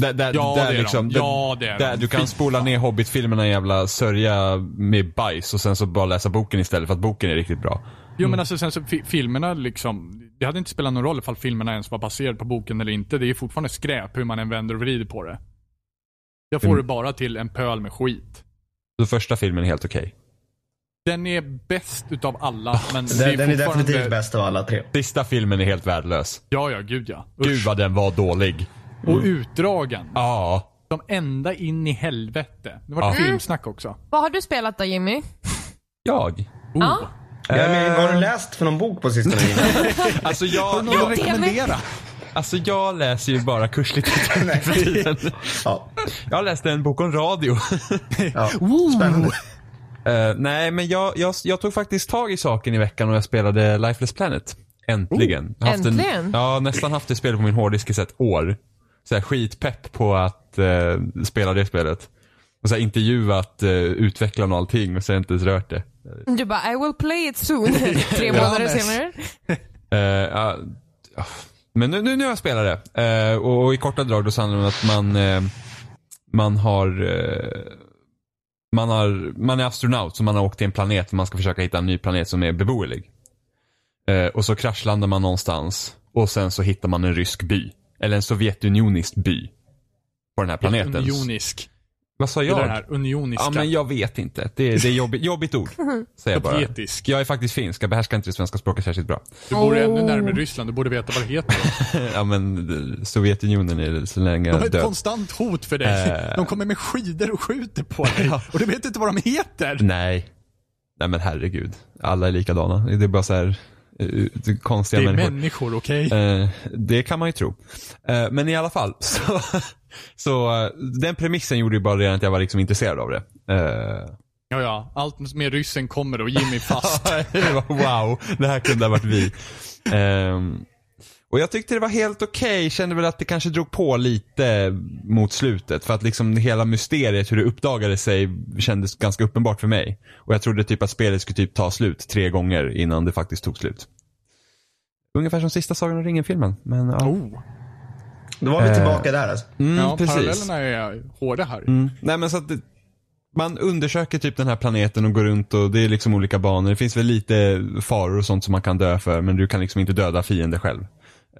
Där, där,
Ja, det är
där
de.
liksom,
Ja, det är
där,
de.
Du kan
Fy
spola ner Hobbit-filmerna i en jävla sörja med bajs och sen så bara läsa boken istället för att boken är riktigt bra.
Jo men alltså sen så fi- filmerna liksom. Det hade inte spelat någon roll ifall filmerna ens var baserade på boken eller inte. Det är fortfarande skräp hur man än vänder och vrider på det. Jag får
Mm.
det bara till en pöl med skit.
Så första filmen är helt okej.
Den är bäst utav alla men det
Den, den är
fortfarande-
definitivt bäst av alla tre.
Sista filmen är helt värdelös.
Ja, ja, gud ja.
Gud vad den var dålig.
Och utdragen.
Ja.
De ända in i helvete. Det var
Ja.
filmsnack också.
Vad har du spelat då Jimmy?
Jag?
Oh.
Ja.
Ja, men, vad har du läst för någon bok på sistone?
Alltså jag, jag, alltså jag läser ju bara kurslitteraturen
Nej.
för tiden.
ja.
Jag läste en bok om radio.
ja. Spännande.
Eh, nej, men jag, jag, jag tog faktiskt tag i saken i veckan och jag spelade Lifeless Planet. Äntligen. Jag har haft En,
Äntligen?
ja, nästan haft det spelet på min hårddisk i så här ett år. Så här skitpepp på att eh, spela det spelet. Och så här intervjuat eh, utvecklarna och allting, men så har jag inte ens rört det.
Du bara I will play it soon. Tre månader
Johannes.
senare.
Eh, ja, ah. men nu, nu, nu har jag spelat det. Eh, och, och i korta drag då så handlar det om att man, eh, man har eh, man, har, man är astronaut så man har åkt till en planet och man ska försöka hitta en ny planet som är beboelig. Eh, och så kraschlandar man någonstans och sen så hittar man en rysk by. Eller en sovjetunionisk by. På den här planeten.
Unionisk.
Vad sa
Det
jag?
där här unioniska.
Ja, men jag vet inte. Det, är- det är jobbigt, jobbigt ord. Säger jag bara.
Sovjetisk.
Jag är faktiskt finsk, jag behärskar inte det svenska språket särskilt bra.
Du borde ännu
Oh.
närmare Ryssland. Du borde veta vad det heter.
Ja men eh, Sovjetunionen är så länge
De är ett
död.
konstant hot för dig.
Eh.
De kommer med skidor och skjuter på dig. Och du vet inte vad de heter.
Nej. Nej men herregud. Alla är likadana. Det är bara så här eh, eh,
Det
konstiga
är
människor.
människor, okej?
Eh, det kan man ju tro. Eh, men i alla fall. Så, så eh, den premissen gjorde ju bara redan att jag var liksom intresserad av det. Eh,
Ja, ja. Allt med ryssen kommer och Jimmy fast.
det var wow, det här kunde ha varit vi. Ehm, och jag tyckte det var helt okej, kände väl att det kanske drog på lite mot slutet. För att liksom hela mysteriet, hur det uppdagade sig, kändes ganska uppenbart för mig. Och jag trodde typ att spelet skulle typ ta slut tre gånger innan det faktiskt tog slut. Ungefär som sista Sagan om ringen-filmen. Men, ja.
Oh.
Då var vi
Eh.
tillbaka där alltså.
Mm,
Ja,
precis.
parallellerna är hårda här.
Mm. Nej men så att det, man undersöker typ den här planeten och går runt och det är liksom olika banor. Det finns väl lite faror och sånt som man kan dö för men du kan liksom inte döda fiender själv.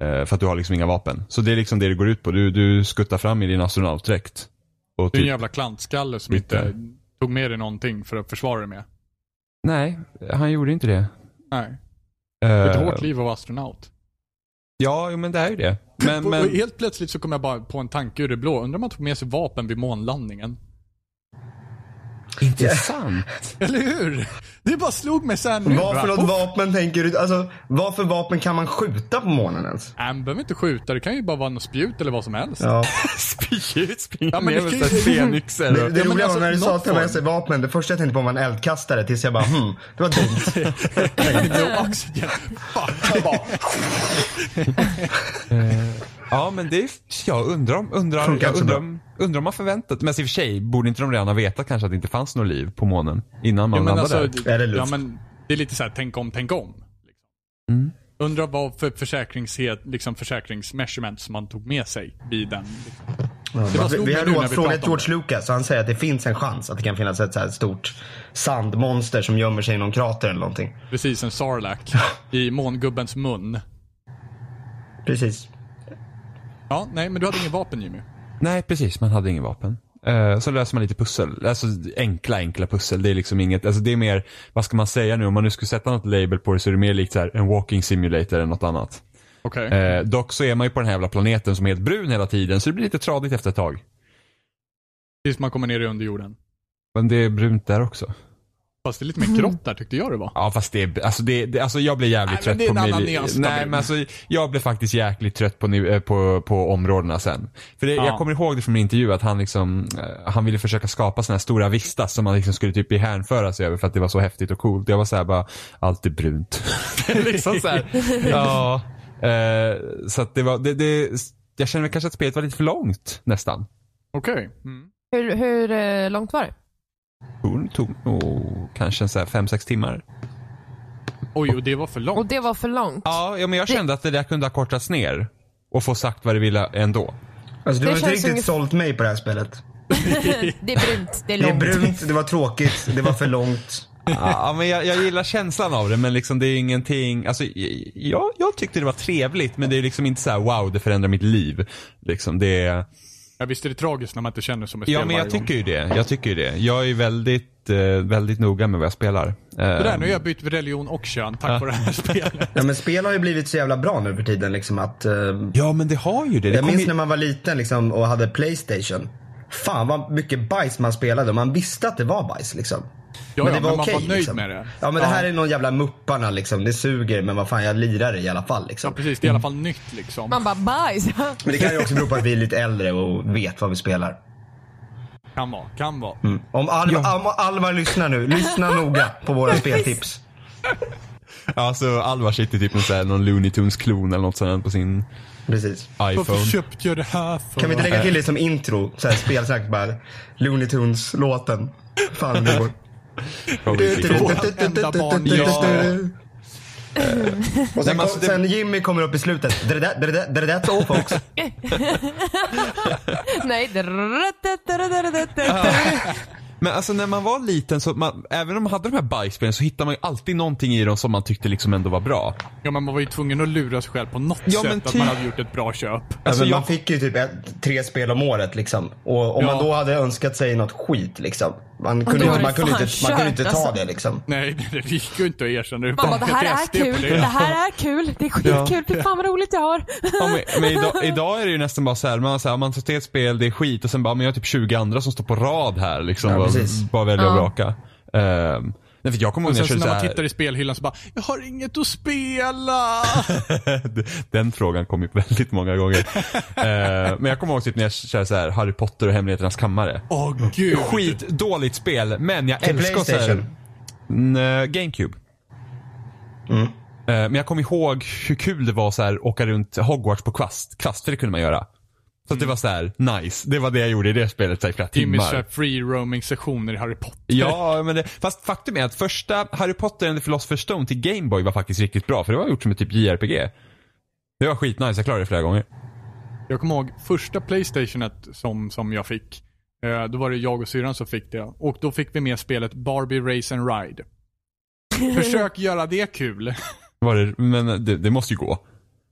Eh, för att du har liksom inga vapen. Så det är liksom det det går ut på. Du, du skuttar fram i din astronautdräkt. Och
Du är en
typ,
jävla klantskalle som
Lite.
inte tog med dig någonting för att försvara dig med.
nej, han gjorde inte det.
Nej.
Eh,
Ett hårt liv av astronaut.
ja, jo, men det är ju det. Men,
och, och
men,
helt plötsligt så kom jag bara på en tanke ur det blå. Undrar om man tog med sig vapen vid månlandningen?
intressant.
Eller hur? Det bara slog mig sen nu.
Vad
va?
för något
Och-
vapen tänker du? Alltså, vad för vapen kan man skjuta på månen ens?
Nej, man behöver inte skjuta. Det kan ju bara vara något spjut eller vad som helst.
Ja.
Spy ut, springa
Ja, men det
med
kan
så här
ju-
fenixer
Det,
och-
det
men
roliga
alltså,
var när du sa
något
att ta med
form.
sig vapen, det första jag tänkte på var en eldkastare tills jag bara hmm, det var dumt.
No oxygen. Fuck. Jag bara,
Ja men det är, jag undrar om, undrar,
Funkar
jag
inte så
undrar,
bra.
om, undrar om man förväntat, men i och för sig borde inte de redan ha vetat kanske att det inte fanns något liv på månen innan man
Jo, men
landade
alltså,
där?
det,
Är det luft?
ja, men det är lite så här, tänk om, tänk om. Liksom. Undrar vad för försäkringshet, liksom försäkringsmeasurement som man tog med sig vid den. Liksom. Det bara
Vi,
slog
vi
mig
har
nu när vi
rådfrågat
pratade om
George Lucas och han säger att det finns en chans att det kan finnas ett så här stort sandmonster som gömmer sig i någon krater eller någonting.
det. Precis, en sarlacc i mångubbens mun.
Precis.
Ja, nej, men du hade ingen vapen Jimmy.
Nej precis, man hade ingen vapen. Eh, så löser man lite pussel, alltså enkla enkla pussel. Det är liksom inget, alltså det är mer, vad ska man säga nu, om man nu skulle sätta något label på det så är det mer likt så här, en walking simulator än något annat.
Okej.
Eh, dock så är man ju på den här jävla planeten som är helt brun hela tiden så det blir lite tradigt efter ett tag.
Tills man kommer ner i underjorden.
Men det är brunt där också.
Fast det är lite mer grått där tyckte jag det var.
Ja fast det är, alltså, det, det, alltså jag blir jävligt
Nej,
trött
men det är
på
en annan
mili-
nyans,
Nej
David.
men alltså jag blev faktiskt jäkligt trött på, ni- eh, på, på områdena sen. För det, jag
Ja.
kommer ihåg det från min intervju att han liksom, eh, han ville försöka skapa sådana här stora vistas som man liksom skulle typ hänföra sig över för att det var så häftigt och coolt. Jag var såhär bara, allt är brunt. liksom så här, ja. Eh, så att det var, det, det, jag känner väl kanske att spelet var lite för långt nästan.
Okej. Mm.
Hur, hur eh, långt var det?
Det tog nog kanske en så här fem sex timmar.
Oj, och det var för
Och
långt.
det var för långt.
Ja, ja, men jag kände att det där kunde ha kortats ner. Och få sagt vad det ville ändå.
Alltså, du
Det
har inte
känns
riktigt
ungefär-
sålt mig på det här spelet.
Det är brunt, det är
Det är
långt.
brunt, det var tråkigt, det var för långt.
ja, men jag, jag gillar känslan av det men liksom det är ingenting, alltså j- jag, jag tyckte det var trevligt men det är liksom inte så här: wow det förändrar mitt liv. Liksom det är,
Ja, visst är det tragiskt när man inte känner som ett
ja
spel
men jag
varje gång.
tycker ju det, jag tycker ju det. Jag är väldigt, eh, väldigt noga med vad jag spelar. Eh,
Det där, nu har jag bytt religion och kön tack vare det här spelet.
Ja, men spel har ju blivit så jävla bra nu för tiden liksom att eh,
Ja men det har ju det. det
Jag
kommer
minns
ju...
när man var liten liksom, och hade Playstation. Fan vad mycket bajs man spelade. Man visste att det var bajs liksom.
Ja, ja, men man
okej, liksom.
var nöjd med det.
Ja men det
Ja.
här är någon jävla mupparna liksom. Det suger men vad fan jag lirar i alla fall
Ja
liksom.
precis, det är i alla fall nytt liksom.
Man bara bajs.
Men det kan ju också bero på att vi är lite äldre och vet vad vi spelar.
Kan vara, kan vara.
Mm.
Om Alma, om Alma lyssnar nu, lyssna noga på våra speltips.
Alltså Alvar sitter typ med så här, någon Looney Tunes klon eller något sånt på sin
Precis.
Varför
iPhone.
köpte jag det här för?
Kan vi inte lägga till det som intro? Såhär spelsnack bara. Looney Tunes-låten. Fan det går.
Enda barn jag-
Och sen,
men alltså, det-
sen Jimmy kommer upp i slutet. Det är det- det är det- det är det så folks.
Nej.
Men alltså när man var liten så, man, även om man hade de här bajsspelen så hittade man ju alltid någonting i dem som man tyckte liksom ändå var bra.
Ja men man var ju tvungen att lura sig själv på något
Ja, men
sätt att
typ-
man hade gjort ett bra köp.
Alltså,
Men
jag,
man fick ju typ ett, tre spel om året liksom. Och om man
Ja.
då hade önskat sig något skit liksom. Man kunde,
då
inte,
var det
man kunde,
fan
inte, man kunde
kört,
inte ta
alltså.
det liksom.
Nej, det- det gick ju inte att erkänna det.
Man bara,
utan
det här
ett
är
SD på
kul.
det.
Det här är kul. Det är skitkul. Fy fan vad roligt jag har.
ja, men, men idag, idag är det ju nästan bara så här, man, så här, man tar till ett spel, det är skit och sen bara, men jag har typ 20 andra som står på rad här liksom. bara,
precis.
bara välja och vraka. Ehm, nej för jag kommer ihåg när jag
Sen så
körde
när
så
man
här,
tittar i spelhyllan så bara, jag har inget att spela.
Den frågan kom ju väldigt många gånger. Ehm, men jag kommer ihåg typ när jag körde så här Harry Potter och Hemligheternas kammare.
Åh gud.
Skitdåligt spel, men jag
Till
älskar så här,
Playstation.
Nej, Mm, GameCube.
Mm.
Eh, Men jag kommer ihåg hur kul det var så här åka runt Hogwarts på kvast. Kvast, för det kunde man göra. Så
Mm.
att det var så här, nice. Det var det jag gjorde i det spelet så här, i flera
Jimmys så här
timmar.
free roaming sektioner i Harry Potter.
Ja, men det, fast faktum är att första Harry Potter and the Philosopher's Stone till Gameboy var faktiskt riktigt bra. För det var gjort som ett typ JRPG. Det var skitnice, jag klarade det flera gånger.
Jag kommer ihåg första Playstationet som, som jag fick. Eh, då var det jag och syrran som fick det. Och då fick vi med spelet Barbie Race and Ride. Försök göra det kul.
Var det, men det, det måste ju gå.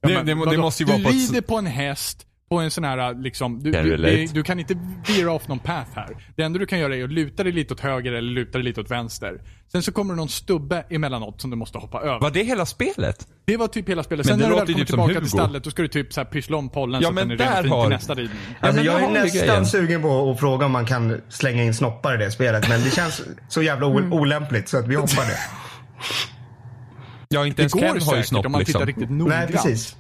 Det,
Men
det, det,
vadå?
måste ju vara
du
på ett...
rider på en häst, på en sån här liksom, du,
Can
du,
relate.
det- du kan inte veera off någon path här. Det enda du kan göra är att luta dig lite åt höger eller luta dig lite åt vänster. Sen så kommer det någon stubbe emellanåt som du måste hoppa över.
Var det hela spelet?
Det var typ hela spelet.
Men
Sen
det
när du
låter
väl
ju
kommer
typ som
tillbaka till
Hugo.
stallet, då ska du typ så här pyssla om
Ja,
pollen så att
men
den är
där
ren fin
har-
till nästa ridning.
Alltså,
men
jag
där
är
har vi
nästan
grejen.
sugen på att fråga om man kan slänga in snoppar i det spelet. Men det känns så jävla o- olämpligt så att vi hoppar det.
Ja, inte
Det
ens
går
Ken har ju
säkert
snopp
om man
liksom.
tittar riktigt noggrant.
Nej precis.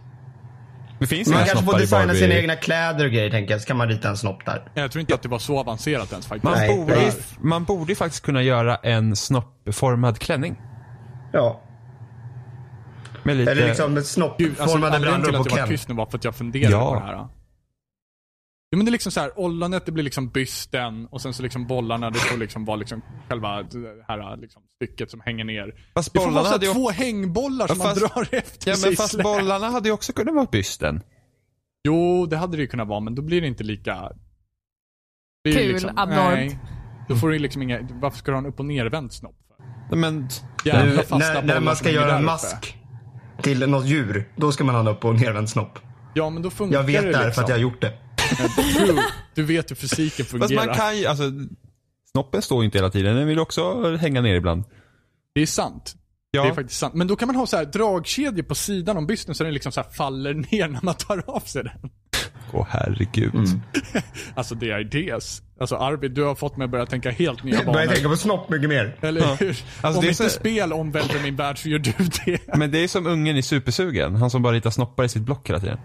Det finns
Man
inga
kanske får
snoppar i
designa
Barbie.
sina egna kläder och grejer tänker jag. Så kan man rita en snopp där.
Jag tror inte att det var så avancerat ens faktiskt.
Man,
Nej,
borde, ju-
precis.
man borde ju faktiskt kunna göra en snoppformad klänning.
Ja.
Med lite...
Eller liksom ett
Gud, alltså,
snoppformade
anledningen till
brallor på
att jag var
Ken.
tyst nu var för att jag funderade
Ja.
på det här. Ja, men det är liksom så här, ollonet det blir liksom bysten och sen så liksom bollarna det får liksom vara liksom själva det här liksom stycket som hänger ner.
Fast
det får
bollarna
vara så här
hade ju-
två hängbollar som
fast-
man drar efter
ja,
sig
men
i
fast
slä.
bollarna hade ju också kunnat vara bysten.
Jo, det hade det ju kunnat vara men då blir det inte lika... det är liksom-
Kul, abnormt.
nej. Då får du liksom inga, varför ska du ha en upp och nervänd snopp? för?
Men...
Nu,
Jävla fasta
när, när
bollar
man
som
ska
hänger
göra
där
en
uppe.
mask till något djur, då ska man ha en upp och nervänd snopp.
Ja men då funkar
Jag vet det
det
här
liksom.
för att jag har gjort det.
True. Du vet hur fysiken
Fast
fungerar.
man kan ju... Alltså, snoppen står ju inte hela tiden. Den vill ju också hänga ner ibland.
Det är sant.
Ja.
Det är faktiskt sant. Men då kan man ha så här dragkedjor på sidan om bysten så den liksom så här faller ner när man tar av sig den.
Åh herregud.
Mm.
Alltså det är idés. Alltså Arvid, du har fått mig att börja tänka helt nya
Jag börjar
banor.
tänka på snopp mycket mer.
Eller hur?
Alltså,
om
det är
inte
så-
spel omvälver min värld så gör du det.
Men det är som ungen i Supersugen. Han som bara ritar snoppar i sitt block hela tiden.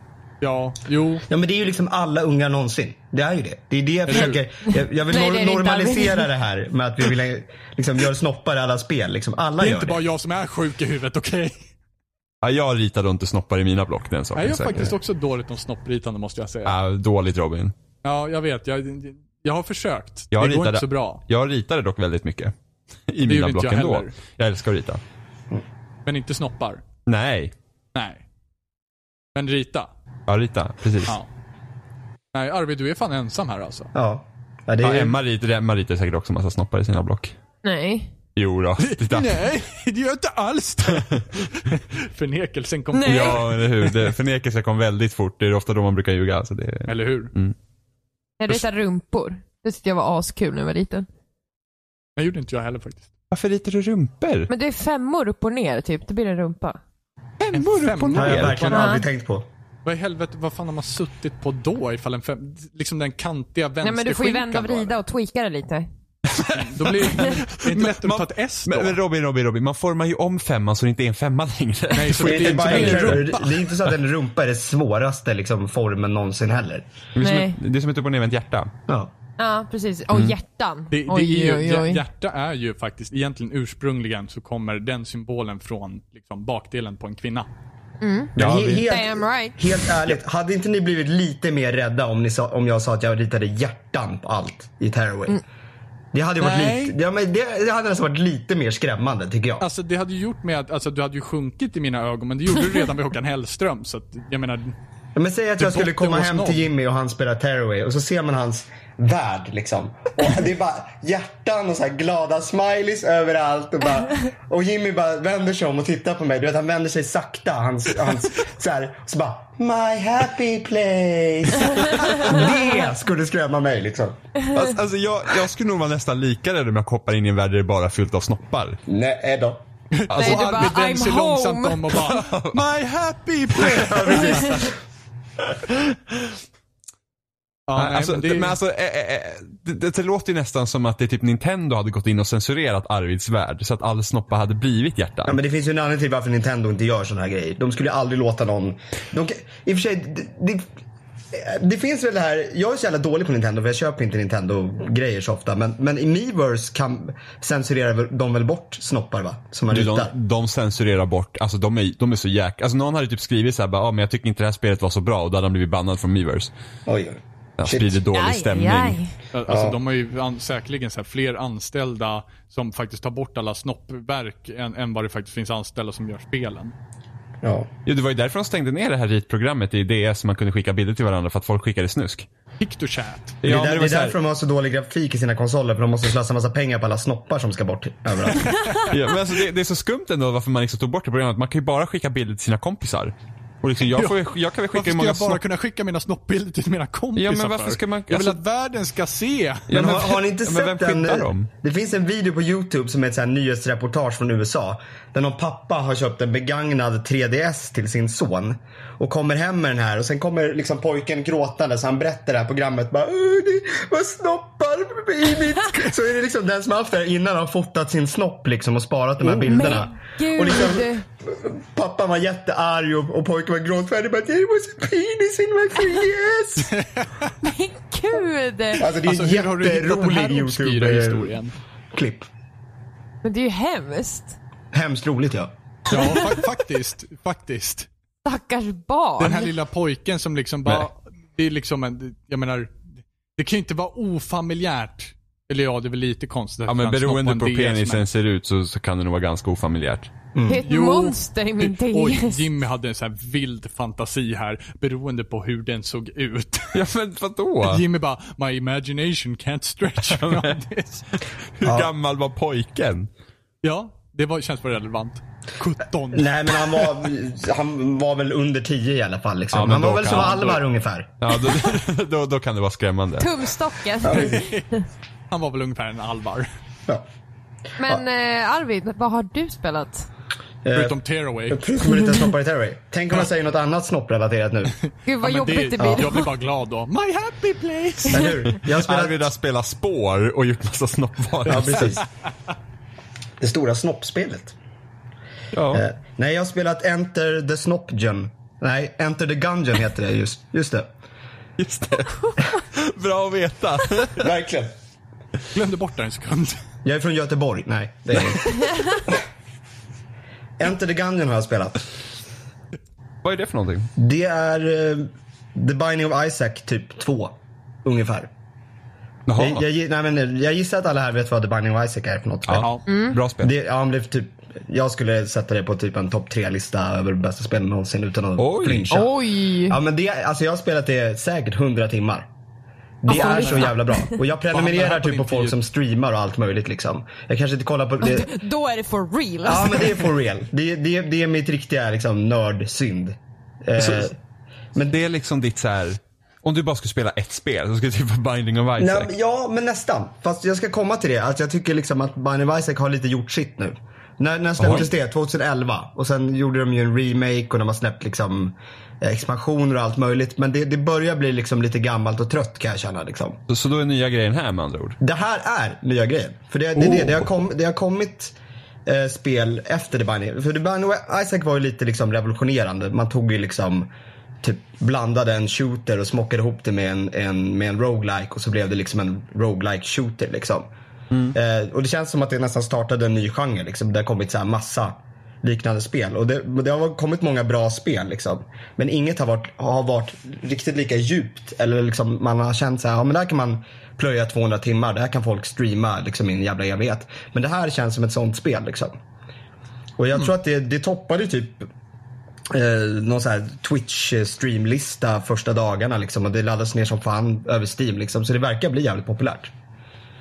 Ja, jo.
Ja men det är ju liksom alla unga någonsin. Det är ju det. Det är det jag försöker. Jag, jag vill
Nej, det är det
nor-
inte,
normalisera det här med att vi vill liksom göra snoppar i alla spel. Liksom alla
Det är
gör
inte bara
det.
jag som är sjuk i huvudet, okej?
Ja, jag ritar inte snoppar i mina block, den saken
Jag är
säker.
faktiskt också dåligt om snoppritande måste jag säga.
Ja, dåligt Robin.
Ja, jag vet. Jag, jag har försökt.
Jag
det går
ritade,
inte så bra.
Jag ritade dock väldigt mycket. I mina
gjorde inte
block
jag
ändå.
heller.
Jag älskar att rita.
Men inte snoppar.
Nej.
Nej. Men rita.
Ja, rita. Precis.
Ja. Nej, Arvid, du är fan ensam här alltså.
Ja. ja det
Ja,
är,
Emma ritar, Emma ritar säkert också massa snoppar i sina block.
Nej.
Jo då, titta.
Nej, det gör inte alls det. Förnekelsen kom
Nej.
Ja, eller hur. Det, förnekelse kom väldigt fort. Det är ofta då man brukar ljuga. Alltså det,
Eller hur?
Jag ritar rumpor. Det tyckte jag var askul när jag var liten.
Det gjorde inte jag heller faktiskt.
varför ritar du rumpor?
Men det är femmor upp och ner typ. Det blir en rumpa.
Femmor upp och
femma.
Det har jag
ner.
verkligen
Ja.
aldrig tänkt på.
Vad i helvete, vad fan har man suttit på då ifall en fem... Liksom den kantiga
Nej
vänsterskinkan
men du får ju vända och
då, eller?
vrida och tweaka det lite.
Då blir det är det inte lättare att ta ett S då.
Men, men Robin, Robin, Robin. Man formar ju om femman så det inte är en femma längre.
Nej, så
Det
det
är,
blir
inte
inte
bara
mer
en,
rum.
det är inte så att en rumpa är den svåraste liksom, formen någonsin heller.
Det är som
Nej.
ett- det är som ett upp och nervänt hjärta.
Ja.
Ja precis. Och hjärtan.
Mm. Det, det
oj,
är ju,
oj, oj.
Hjärta är ju faktiskt, egentligen ursprungligen så kommer den symbolen från liksom, bakdelen på en kvinna.
Men he-
vi-
Damn right.
helt ärligt, hade inte ni blivit lite mer rädda om, ni sa, om jag sa att jag ritade hjärtan på allt i Tearaway?
Mm.
Det hade ju varit
Nej.
lite, ja, men det, det hade nästan varit lite mer skrämmande tycker jag.
Alltså det hade ju gjort med att, alltså du hade ju sjunkit i mina ögon men det gjorde du redan vid Håkan Hellström så att, jag menar,
Men säg att
The
jag skulle
bottom
komma
was
hem
known.
till Jimmy och han spelar Tearaway och så ser man hans värld liksom. Och det är bara hjärtan och så här glada smileys överallt. Och, bara, och Jimmy bara vänder sig om och tittar på mig. Du vet han vänder sig sakta. Hans, hans, så här, och så bara My happy place. Det skulle skrämma mig liksom.
Alltså, alltså jag, jag skulle nog vara nästan lika rädd om jag hoppar in i en värld där det bara är fyllt av snoppar.
Nej då.
Nej, du
och
bara,
Albin vänder sig
I'm
långsamt
home.
om och bara
My happy place!
ja,
Ja,
nej,
alltså,
men
det...
det,
Men alltså, eh, eh, eh, det, det, det låter ju nästan som att det är typ Nintendo hade gått in och censurerat Arvids värld så att all snoppa hade blivit hjärtan.
Ja, men det finns ju en anledning till varför Nintendo inte gör sådana här grejer. De skulle aldrig låta någon... De, kan- I och för sig, det, det, det finns väl det här... Jag är så jävla dålig på Nintendo för jag köper inte Nintendo-grejer så ofta. Men, men i Miiverse kan censurerar väl- de väl bort snoppar va? Som man
Du, de,
ritar.
de censurerar bort, alltså de är, de är så jäk... Alltså någon hade typ skrivit såhär bara, ah, men jag tycker inte det här spelet var så bra och då hade han blivit bannad från Miiverse.
Oj, oj.
Ja,
Shit.
sprider dålig
Aj,
stämning.
aj.
alltså de har ju an, säkerligen så här, fler anställda som faktiskt tar bort alla snoppverk än, än vad det faktiskt finns anställda som gör spelen.
Ja.
Jo, det var ju därför de stängde ner det här ritprogrammet i DS så man kunde skicka bilder till varandra för att folk skickade snusk.
Pictochat.
Det är,
men
där, det
var
är
så här-
därför de har så dålig grafik i sina konsoler. För de måste slösa massa pengar på alla snoppar som ska bort överallt.
Ja, men alltså det, det är så skumt ändå varför man liksom tog bort det programmet. Man kan ju bara skicka bilder till sina kompisar. Och liksom jag, får, ju- jag kan väl skicka
Varför
hur
ska
många
jag bara
snopp...
kunna skicka mina snoppbilder till mina kompisar
Ja, men varför
för?
ska man-
Jag vill
alltså-
att världen ska se.
Ja,
Men har, har ni inte
ja, men
sett
vem
den?
skyddar dem?
Det finns en video på Youtube som är ett så här nyhetsreportage från USA. Där någon pappa har köpt en begagnad 3DS till sin son. Och kommer hem med den här och sen kommer liksom pojken gråtande så han berättar det här programmet. Bara, "Åh, det var snoppar i mitt... Så är det liksom den som har haft det här innan har fotat sin snopp liksom och sparat de här
Mm.
bilderna.
Gud.
Och liksom, pappan var jättearg och, och pojken var gråtfärdig. Bara, There was a penis in my 3DS.
Men gud.
Alltså det är
Alltså,
en
hur har du hittat den här
jätterolig
obskyra
Youtube-historia.
historien?
Klipp.
Men det är ju hemskt.
Hemskt roligt ja.
Ja, fa- faktiskt. Faktiskt.
Stackars barn.
Den här lilla pojken som liksom bara, det är liksom en, jag menar, det kan ju inte vara ofamiljärt. Eller ja, det är väl lite konstigt. att
Ja men
man snoppar
beroende
en
på hur
DS, men-
penisen ser ut så, så kan det nog vara ganska ofamiljärt.
Det är ett
Mm. Jo.
monster i min
Oj,
DS.
Jimmy hade en sån här vild fantasi här, beroende på hur den såg ut.
Ja men vadå?
Jimmy bara, my imagination can't stretch beyond this.
Hur gammal var pojken?
Ja, det var, känns bara relevant. 17.
Nej men han var, han var väl under 10 i alla fall. Liksom.
Ja, men
han var
då
väl
kan
som
han- då-
Alvar ungefär.
Ja då, då, då kan det vara skrämmande.
Tumstocken.
Han var väl ungefär en
Eh,
Alvar.
Ja.
Men eh, Arvid, vad har du spelat?
Förutom Tearaway.
Förutom att inte snoppar i Terry. Tänk om man säger något annat snopprelaterat nu.
Gud vad
Men
jobbigt det,
ja.
blir.
Jag blir bara glad då. My happy place!
Eller hur? Jag har spelat...
Arvid har spelat spår och gjort massa
Ja,
snoppvarelser.
precis. Det stora snoppspelet.
Ja.
Eh, Nej, jag har spelat Enter the Snoppgen. Nej, Enter the Gungeon heter det just. Just det.
Just det. Bra att veta.
Verkligen.
Glömde bort det en sekund.
Jag är från Göteborg. Nej, det är jag inte. Enter the Gungeon har jag spelat.
Vad är det för någonting?
Det är eh, The Binding of Isaac typ 2. Ungefär.
Jaha.
Jag, jag, gi- nej, men jag gissar att alla här vet vad The Binding of Isaac är för något spel.
ja.
Mm.
Bra spel.
Det, ja, men det är typ, jag skulle sätta det på typ en topp tre-lista över bästa spel någonsin utan att
Oj.
flincha.
Oj.
Ja, men det, alltså jag har spelat det säkert 100 timmar. Det
Alltså,
är så
lyssna.
jävla bra. Och jag
Vad handlar
prenumererar
det här
typ
på
på
din
folk
tid?
som streamar och allt möjligt liksom. Jag kanske inte kollar på det.
Då är det for real.
Ja
alltså.
men det är for real. Det, det, det är mitt riktiga liksom nördsynd. Eh,
Så- Men det är liksom ditt så här. Om du bara skulle spela ett spel så skulle det typ vara Binding of Isaac.
Nej, men- ja, men nästan. Fast jag ska komma till det. Att jag tycker liksom att Binding of Isaac har lite gjort sitt nu. När, när släpptes det? 2011. Och sen gjorde de ju en remake och de har släppt liksom eh, expansioner och allt möjligt. Men det, det börjar bli liksom lite gammalt och trött kan jag känna. Liksom.
Så, så då är nya grejen här med andra ord.
Det här är nya grejen. För det, det, är det, det, har, kom, det har kommit eh, spel efter The Binding. För The Binding of Isaac var ju lite liksom revolutionerande. Man tog ju liksom typ blandade en shooter och smockade ihop det med en, en, med en roguelike och så blev det liksom en roguelike shooter liksom. Eh, och det känns som att det nästan startade en ny genre liksom. Det har kommit så här massa liknande spel. Och det, men det har kommit många bra spel liksom. Men inget har varit, har varit riktigt lika djupt. Eller liksom man har känt så här, ja men där kan man plöja 200 timmar. Där kan folk streama liksom i en jävla evighet. Men det här känns som ett sånt spel liksom. Och jag tror att det, det toppade typ eh, någon så här Twitch-streamlista första dagarna liksom. Och det laddas ner som fan över Steam liksom. Så det verkar bli jävligt populärt.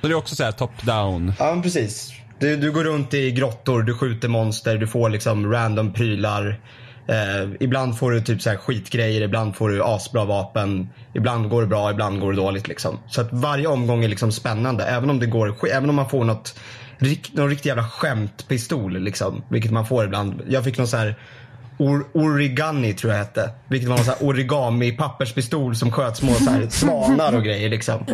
Så det är också så här top-down.
Ja, men precis. Du, du går runt i grottor, du skjuter monster, du får liksom random prylar. Eh, ibland får du typ så här skitgrejer, ibland får du asbra vapen. Ibland går det bra, ibland går det dåligt. Liksom. Så att varje omgång är liksom spännande. Även om, det går, sk- även om man får något, rikt, någon riktig jävla skämtpistol. Liksom, vilket man får ibland. Jag fick någon så här or, origami tror jag hette. Vilket var någon så här origami papperspistol som sköt små så här svanar och grejer. Liksom.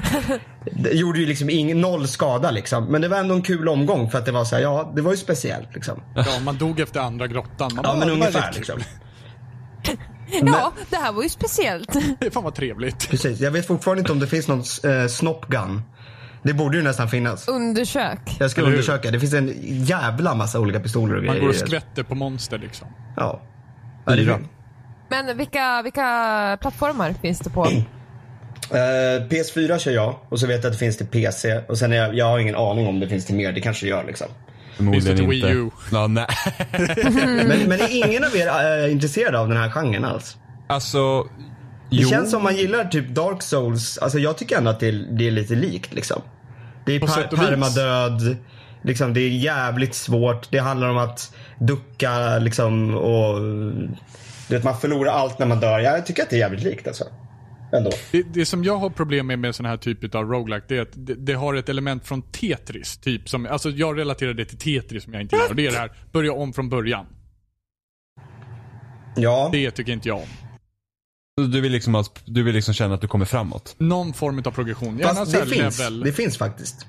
Det gjorde ju liksom ingen, noll skada liksom. Men det var ändå en kul omgång för att det var så här, ja det var ju speciellt liksom.
Ja, man dog efter andra grottan. Man
Ja men
det var
ungefär
riktigt-
liksom.
ja, det här var ju speciellt.
Fan vad trevligt.
Precis. Jag vet fortfarande inte om det finns någon eh, snoppgun. Det borde ju nästan finnas.
Undersök.
Jag ska
Eller hur?
undersöka. Det finns en jävla massa olika pistoler och
Man
grejer.
går och
i det.
skvätter på monster liksom.
Ja. Mm. ja det är
Men vilka, vilka plattformar finns det på?
Eh, PS4 kör jag och så vet jag att det finns till PC. Och sen är jag, jag har ingen aning om det finns till mer. Det kanske det gör liksom.
Förmodligen
Finns det till
inte.
Wii U?
Ja, nej.
Men, men är ingen av er eh, intresserad av den här genren alls?
Alltså,
Det
jo.
känns som man gillar typ Dark Souls. Alltså jag tycker ändå att det är, det är lite likt liksom. Det är
På
per,
sätt och vis.
permadöd. Liksom, det är jävligt svårt. Det handlar om att ducka liksom och... Du vet, man förlorar allt när man dör. Jag tycker att det är jävligt likt alltså. Ändå.
Det, det som jag har problem med med sån här typ av roguelike det är att det, det har ett element från Tetris. Typ som, alltså jag relaterar det till Tetris som jag inte gillar. Och det är det här, börja om från början.
Ja.
Det tycker inte jag om.
Du vill, liksom, att- du vill liksom känna att du kommer framåt.
Någon form av progression. Gärna
Fast
så
det
här
finns.
level.
Det finns faktiskt.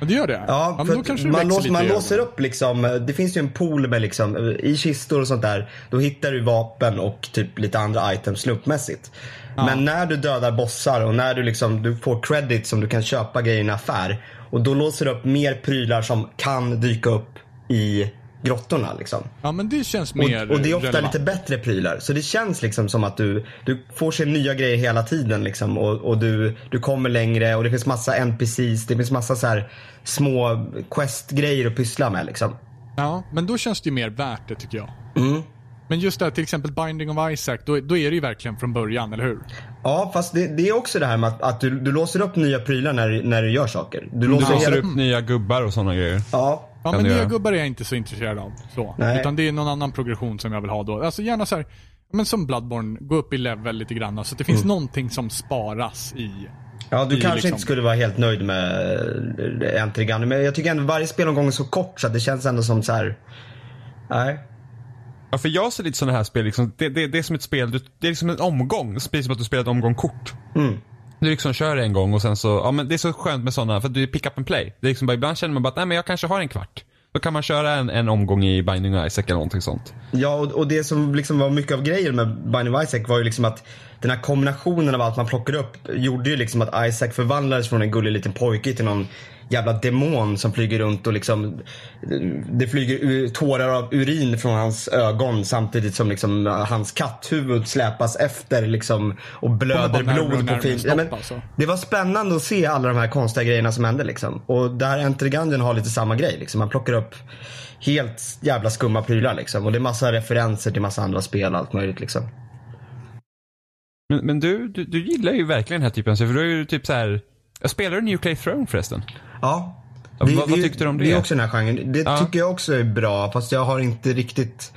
Ja, det gör det?
Ja,
men
för
då
att
kanske det
man,
växer
lås,
lite
man
i
låser
ögonen.
upp liksom, eh, det finns ju en pool med liksom, eh, i kistor och sånt där. Då hittar du vapen och typ lite andra items slumpmässigt. Men när du dödar bossar och när du liksom, du får credit som du kan köpa grejer i en affär. Och då låser du upp mer prylar som kan dyka upp i grottorna liksom.
Ja, men det känns
Och,
mer
och det är ofta
relevant.
lite bättre prylar. Så det känns liksom som att du, du får se nya grejer hela tiden. Liksom, och och du, du kommer längre och det finns massa NPCs. Det finns massa så här små quest-grejer att pyssla med. Liksom.
Ja, men då känns det ju mer värt det tycker jag.
Mm.
Men just det här till exempel Binding of Isaac, då, då är det ju verkligen från början, eller hur?
Ja, fast det, det är också det här med att, att du, du låser upp nya prylar när, när du gör saker.
Mm,
Du
Du
låser
låser
hela-
upp nya gubbar och sådana grejer.
Ja,
Ja,
Kan
men
det
nya
göra.
gubbar är jag inte så intresserad av. Så.
Nej.
Utan det är någon annan progression som jag vill ha då. Alltså gärna så här, men som Bloodborne, gå upp i level lite grann. Så att det
Mm.
finns någonting som sparas i.
ja du
i
kanske
liksom-
inte skulle vara helt nöjd med eh, Entry Gunner. Men jag tycker ändå varje spelomgång är så kort så att det känns ändå som så här. Nej.
Ja, för jag ser lite sådana här spel, liksom, det, det, det är som ett spel, du, det är liksom en omgång. Precis som att du spelar ett omgång kort. Du liksom kör en gång och sen så, ja men det är så skönt med sådana, för att du är pick up and play. Det är liksom bara, ibland känner man bara att, nej men jag kanske har en kvart. Då kan man köra en, en omgång i Binding of Isaac eller någonting sånt.
Ja, och, och det som liksom var mycket av grejen med Binding of Isaac var ju liksom att den här kombinationen av allt man plockade upp gjorde ju liksom att Isaac förvandlades från en gullig liten pojke till någon jävla demon som flyger runt och liksom det flyger u- tårar av urin från hans ögon samtidigt som liksom eh, hans katthuvud släpas efter liksom och blöder
Kommer bara närmare och
blod på
närmare
fil.
stopp,
Ja, men,
alltså.
det var spännande att se alla de här konstiga grejerna som hände liksom. Och där Enter Gungeon har lite samma grej liksom. Man plockar upp helt jävla skumma prylar liksom. Och det är massa referenser till massa andra spel och allt möjligt liksom.
Men, men du, du, du gillar ju verkligen den här typen av spel, för du är ju typ så här. Jag spelar du New Clay Throne förresten?
Ja.
Ja, vad- vad tyckte du om det?
Det är också den här genren. Det
Ja.
tycker jag också är bra, fast jag har inte riktigt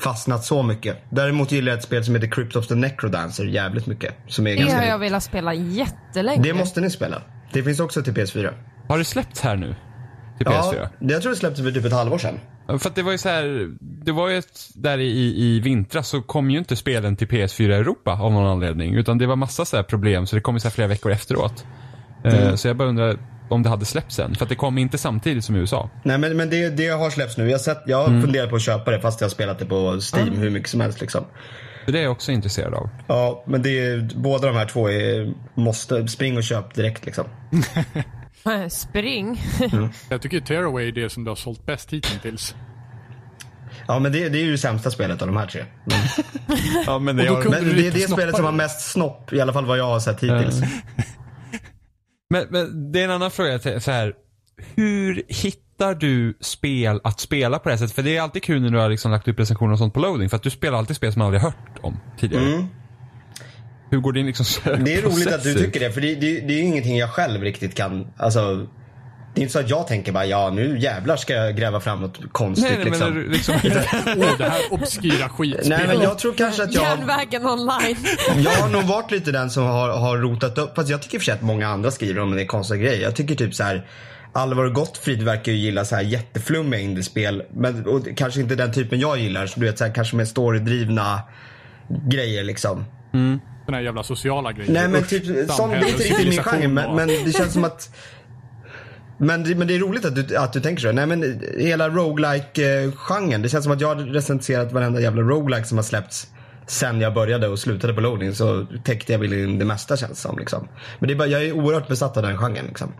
fastnat så mycket. Däremot gillar jag ett spel som heter Crypt of the Necrodancer jävligt mycket. Som är
Det har
ganska...
jag velat spela jättelänge.
Det måste ni spela. Det finns också till PS4.
Har det släppts här nu? Till
Ja,
PS4?
det- jag tror det släpptes för typ ett halvår sedan.
Ja. För att det var ju så här, det var ju ett, där i, i vintras så kom ju inte spelen till PS4 Europa av någon anledning. Utan det var massa så här problem, så det kom ju så här flera veckor efteråt. Eh, Så jag bara undrar om det hade släppts än. För att det kom inte samtidigt som i USA.
Nej men, men det, det har släppts nu. Jag har, sett, jag har funderat på att köpa det fast jag har spelat det på Steam hur mycket som helst liksom.
Så det är jag också intresserad av.
Ja, men det är, båda de här två är måste. Spring och köp direkt liksom.
Spring.
Jag tycker Tearaway är det som du har sålt bäst hittills.
Ja men det, det är ju det sämsta spelet av de här tre.
Ja, men
Och då har- kunde
Men
du
det är
riktigt
det spelet
snoppa
som har
det.
mest snopp, i alla fall vad jag har sett hittills.
Men, men det är en annan fråga. till- Så här, hur hittar du spel att spela på det här sättet? För det är alltid kul när du har liksom lagt upp recensioner och sånt på loading. För att du spelar alltid spel som man aldrig hört om tidigare. Hur går din liksom
Mm. Det är roligt att du tycker det, för det, det, det är ju ingenting jag själv riktigt kan, alltså. Det är inte så att jag tänker bara, ja nu jävlar ska jag gräva fram något konstigt
Nej, nej,
liksom.
men när du liksom,
Åh, det här obskyra skitspelet.
Nej men jag tror kanske att jag...
Järnvägen online.
Jag har nog varit lite den som har, har rotat upp. Fast jag tycker i och för sig att många andra skriver om det är konstiga grejer. Jag tycker typ så här. Alvar Gottfrid verkar ju gilla så här jätteflummiga indiespel. Men och det- kanske inte den typen jag gillar. Så du vet så här, kanske med storydrivna grejer liksom.
Såna här jävla sociala grejer.
Nej men
Usch,
typ, sån, det
samhälle
är
och
inte riktigt min
civilisation
genre. Men,
och-
men det känns som att men det, men det är roligt att du, att du tänker så. Nej men hela roguelike eh, genren Det känns som att jag har recenserat varenda jävla roguelike som har släppts. Sen jag började och slutade på loading så täckte jag väl in det mesta känns det som. Liksom. Men det är bara, jag är oerhört besatt av den genren. Liksom.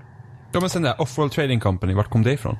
ja, men sen där, Offworld Trading Company, vart kom det ifrån?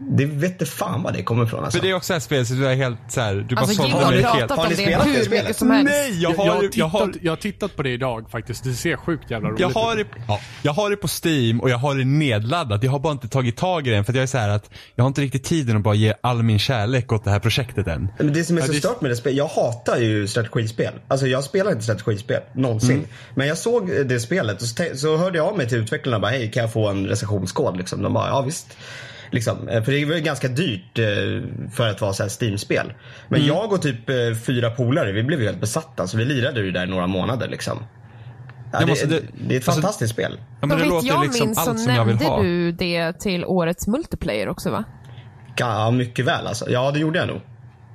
Det vet inte fan var det kommer ifrån alltså.
För det är också ett spel som du är helt så här, du bara
Alltså Jim
sålde
har
mig
pratat
helt.
Har
om
ni
det
spelat det
hur
spelet?
mycket som helst.
Nej, jag
Jag,
har,
jag, har tittat,
jag har,
jag har tittat på det idag faktiskt. Det ser sjukt jävla roligt
jag har,
ut.
det, ja, jag har det på Steam och jag har det nedladdat. Jag har bara inte tagit tag i den för att jag är så här att jag har inte riktigt tiden att bara ge all min kärlek åt det här projektet än.
Men det som är
Ja,
så
det-
stört med det spelet, jag hatar ju strategispel. Alltså jag spelar inte strategispel, någonsin. Men jag såg eh, det spelet och så, tä- så hörde jag av mig till utvecklarna och bara, hej kan jag få en recensionskod? Liksom. De bara, ja visst. Liksom. eh, För det var ju ganska dyrt eh, för att vara så här Steam-spel. Men jag och typ eh, fyra polare, vi blev ju helt besatta. Så vi lirade ju där i några månader liksom. Ja,
Ja,
det,
men alltså,
det,
det-
är ett
alltså-
fantastiskt spel.
Ja,
Så
men det
vitt
låter
jag
liksom
minns så
allt som jag vill
nämnde
ha.
du det till årets multiplayer också va?
Ja, mycket väl alltså. Ja, det gjorde jag nog.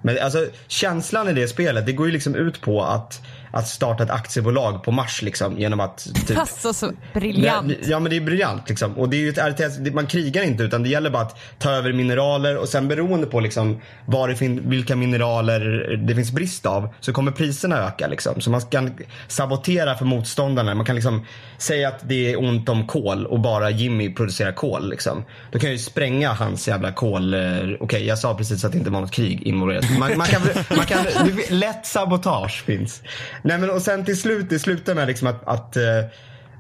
Men alltså känslan i det spelet, det går ju liksom ut på att, att starta ett aktiebolag på Mars liksom genom att typ...
Alltså så briljant.
Nej, Ja men det är briljant liksom. Och det är ju ett RTS, det- man krigar inte utan det gäller bara att ta över mineraler och sen beroende på liksom var det fin- vilka mineraler det finns brist av så kommer priserna öka liksom. Så man kan sabotera för motståndarna. Man kan liksom säga att det är ont om kol och bara Jimmy producerar kol liksom. Då kan jag ju spränga hans jävla kol. eh, Okej jag sa precis att det inte var något krig involverat. Man, man kan, man kan, du vet, lätt sabotage finns. Nej men och sen till slut, det slutar med liksom att, att eh,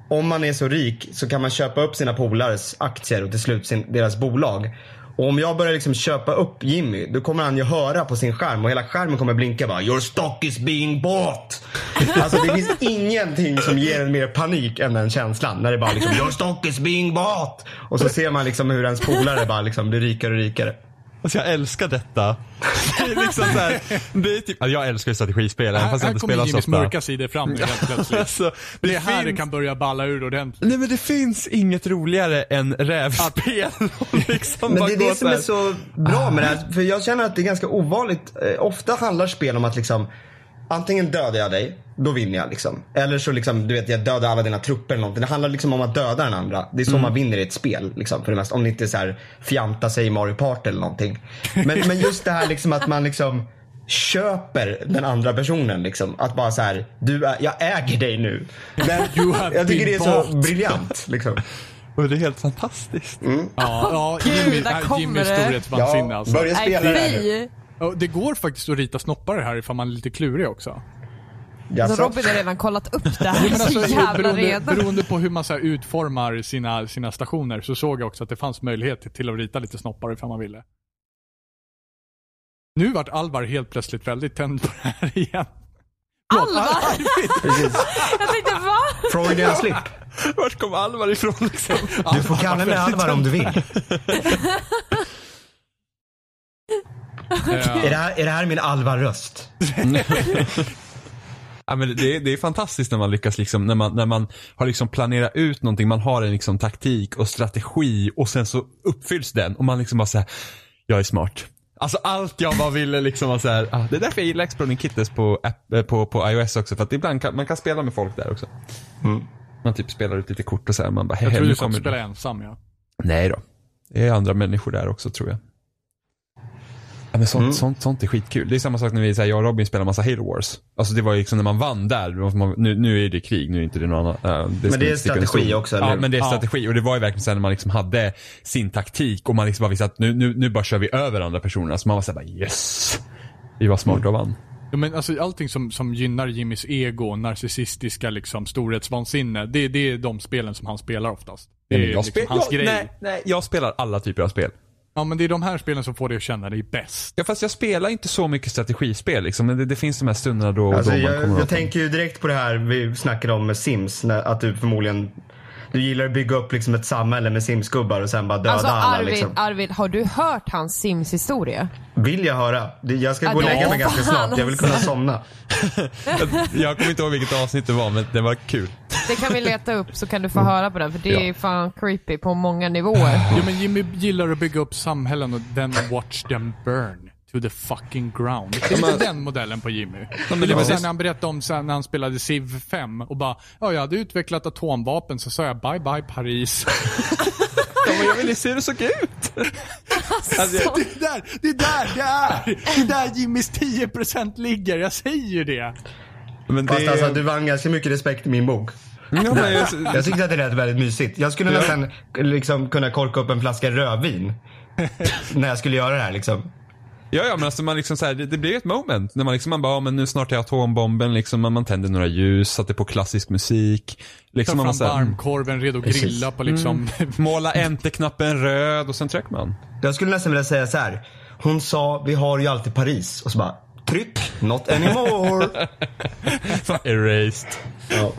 om man är så rik så kan man köpa upp sina polares aktier och till slut sin, deras bolag. Och om jag börjar liksom köpa upp Jimmy, då kommer han ju höra på sin skärm och hela skärmen kommer blinka bara “Your stock is being bought”. Alltså det finns ingenting som ger en mer panik än den känslan. När det bara liksom “Your stock is being bought” och så ser man liksom hur ens polare bara liksom blir rikare och rikare.
Alltså jag älskar detta. Det är liksom så här, det är typ, alltså, jag älskar ju strategispel, även
Här,
fast jag
här
inte
kommer
spelar så
Jimmys
ofta.
mörka sidor fram nu helt plötsligt.
Alltså, det,
Det är här det
finns,
kan börja balla ur ordentligt.
Nej men det finns inget roligare än rävspel. Och liksom
Men
bara
det är
gå
det som är
här.
så bra med det här. För jag känner att det är ganska ovanligt. Eh, Ofta handlar spel om att liksom antingen dödar jag dig, då vinner jag liksom. Eller så liksom, du vet, jag dödar alla dina trupper eller någonting. Det handlar liksom om att döda den andra. Det är så man vinner i ett spel liksom, för det mesta. Om det inte är så här fjanta sig i Mario Party eller någonting. Men, men just det här liksom att man liksom köper den andra personen liksom. Att bara så här, du är, jag äger dig nu. Den,
You have
jag tycker det är
been
så
bought.
briljant liksom.
Och det är helt fantastiskt.
Ja, ja
gud,
Jimmy,
där
här-
kommer
Jimmys
det.
storhetsvansinne alltså.
börja
Nej,
spela det här nu.
fy.
Ja, Det går faktiskt att rita snoppar här ifall man är lite klurig också.
Jaså?
Alltså, Robin har redan kollat upp det här
Men alltså,
så jävla
beroende,
redan.
beroende på hur man så här utformar sina, sina stationer så såg jag också att det fanns möjlighet till att rita lite snoppar ifall man ville. Nu vart Alvar helt plötsligt väldigt tänd på det här igen.
Alvar!
Precis.
Jag tänkte va?
Freudian slip.
Vart kom Alvar ifrån liksom?
Du får kalla mig Alvar om du vill. Är det här, är det här min Alvar-röst?
Ja, men det, det är fantastiskt när man lyckas liksom, när man, när man har liksom planerat ut någonting, man har en liksom taktik och strategi och sen så uppfylls den och man liksom bara såhär, jag är smart. Alltså allt jag bara ville liksom var såhär, ah, det är därför jag gillar Exploding Kittles på, app, eh, på, på iOS också för att ibland kan man kan spela med folk där också. Man typ spelar ut lite kort och såhär, man bara,
Jag
hehe
tror
nu
du får
kommer
spela ensam ja.
Nej då. Det är andra människor där också tror jag. Ja, men sånt,
Mm.
sånt, sånt är skitkul. Det är samma sak när vi, så här, jag och Robin spelade massa Halo Wars. Alltså det var ju liksom när man vann där, då var man- nu, nu är det krig, nu är inte det någon annan. eh,
Men det är
inte stick under
strategi
stol.
också, eller
Ja,
hur?
men det är
Ja.
strategi. Och det var ju verkligen så här när man liksom hade sin taktik och man liksom bara visste att nu, nu, nu bara kör vi över andra personer. Så man var såhär bara yes. Vi var smarta och vann.
Ja, men alltså, allting som, som gynnar Jimmys ego, narcissistiska liksom, storhetsvansinne, det, det är de spelen som han spelar oftast.
Nej,
Det är
men jag,
liksom
spel,
hans
jag,
grej.
nej, nej, jag spelar alla typer av spel.
Ja, men det är de här spelen som får dig att känna dig bäst.
Ja, fast jag spelar inte så mycket strategispel liksom. Men det, det finns de här stunderna då och
Alltså,
då man
jag,
kommer
jag
åt dem.
tänker ju direkt på det här vi snackade om med Sims. När, att du förmodligen du gillar att bygga upp liksom ett samhälle med Sims-gubbar och sen bara döda
Alltså
alla.
Arvid,
Liksom.
Arvid, har du hört hans Sims historia?
Vill jag höra? Det- Jag ska
Ja,
gå och
det-
lägga mig ganska
Fan,
snart. Jag vill kunna
alltså.
somna.
Jag- Jag kommer inte ihåg vilket avsnitt det var, men det var kul.
Det kan vi leta upp så kan du få höra på den för det är
Ja.
fan creepy på många nivåer.
Ja, men Jimmy gillar att bygga upp samhällen och then watch them burn. To the fucking ground. Det är
men-
lite den modellen på Jimmy.
men
det
det
var
var-
sen när han berättade om sen när han spelade Civ 5 och bara ja, jag hade utvecklat atomvapen så sa jag bye bye Paris.
Ja, men jag ville se hur det såg ut. Alltså, jag-
Det är där, det är där, det är! Det är där Jimmys 10% ligger, jag säger ju det.
men
Fast
det... Mm,
alltså, du vann ganska mycket respekt i min bok.
ja, men jag...
Jag tyckte att det lät väldigt mysigt. Jag skulle nästan liksom, kunna korka upp en flaska rödvin. när jag skulle göra det här liksom.
ja, ja, men alltså man liksom så här, det, det blev ett moment. När man liksom, man bara, ja, men nu snart är atombomben liksom. Man, man tände några ljus, satte på klassisk musik.
Ta
Liksom man var
fram
så här, mm,
varmkorven, redo att grilla på liksom...
måla enter-knappen röd och sen tryck man.
Jag skulle nästan vilja säga så här. Hon sa, vi har ju alltid Paris. Och så bara, tryck, not anymore.
Fan, Erased.
ja.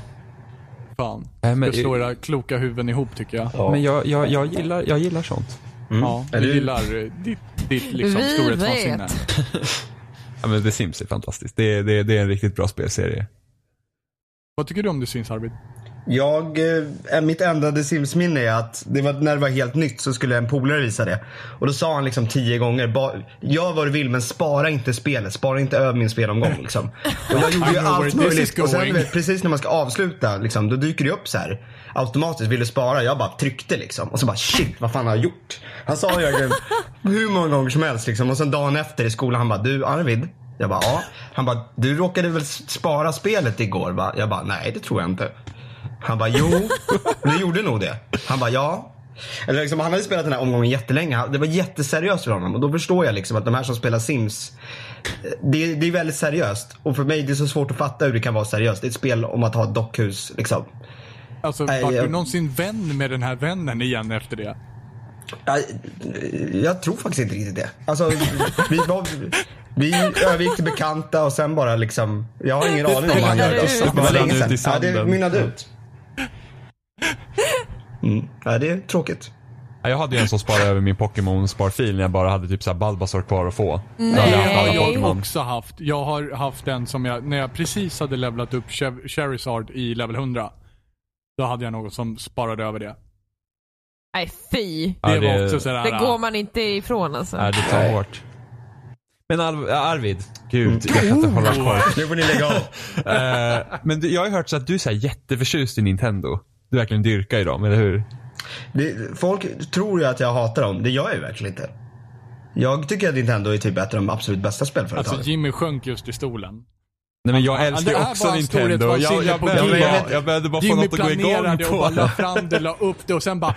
Fan.
Nej, men-
Jag slår era kloka huvuden ihop tycker jag.
Men jag, jag, jag, gillar, jag gillar sånt.
Ja,
Eller
vi
hur?
gillar eh, ditt, ditt liksom
Vi
storhetsvansinne.
vet.
Ja, men The Sims är fantastiskt. Det, det, det är en riktigt bra spelserie.
Vad tycker du om The Sims Arvid?
Jag, eh, mitt enda The Sims-minne är att det var, när det var helt nytt så skulle en polare visa det. Och då sa han liksom tio gånger, "Ba- gör vad du vill men spara inte spelet. Spara inte över min spelomgång. Liksom. Och jag gjorde
I
ju
know where
allt
this
möjligt.
is
Och sen
going.
du vet, precis när man ska avsluta, liksom, då dyker det upp så här. Automatiskt, vill du spara? Jag bara tryckte liksom. Och så bara shit, vad fan har jag gjort? Han sa ju verkligen hur många gånger som helst. Liksom. Och sen dagen efter i skolan, han bara, du Arvid. Jag bara, ja. Han bara, du råkade väl spara spelet igår? va?" Jag bara, nej det tror jag inte. Han bara, jo, du gjorde nog det. Han bara, ja. Eller liksom, han hade spelat den här omgången jättelänge. Han- Det var jätteseriöst för honom. Och då förstår jag liksom att de här som spelar Sims, eh, det, är- det är väldigt seriöst. Och för mig det är så svårt att fatta hur det kan vara seriöst. Det är ett spel om att ha ett dockhus. Liksom.
Alltså,
Nej,
vart du
jag-
någonsin vän med den här vännen igen efter
Eh,
det?
Jag, Eh, jag tror faktiskt inte riktigt det. Alltså, vi, var, vi övergick till bekanta och sen bara liksom, jag har ingen aning om vad han gör. Det var
Föll han
länge
ut i
sedan. Ja, det
sanden?
mynnade ut. Mm. Ja, det är tråkigt.
Ja, Jag hade ju en som sparade över min Pokémon-sparfil när jag bara hade typ så här Balbasaur kvar att få. Nej.
Ja,
alla
jag har
Pokémon.
också haft. Jag har haft en som jag, när jag precis hade levlat upp Chev- Charizard i level 100. Då hade jag något som sparade över det. Det
Nej fy.
Ja, det-
var också sådär.
Det går man inte ifrån alltså.
Nej, det tar hårt. Men Al- Arvid, gud, jag kan inte hålla kvar.
Nu får ni lägga av.
Eh, men du, jag har ju hört så att du är så här jätteförtjust i Nintendo. Du verkligen dyrkar i dem, eller hur?
Det, folk tror ju att jag hatar dem. Det gör jag ju verkligen inte. Jag tycker att Nintendo är typ ett av de absolut bästa spelföretagen.
Alltså Jimmy sjönk just i stolen.
Nej men jag älskar
det
ju
här var
också
en
Nintendo. Jag, jag,
storhetsvansinne
jag,
på
behövde
Jimmy.
bara, jag behövde bara få
Jimmy
något att gå igång
planerade och bara la
på.
fram det, la upp det och sen bara...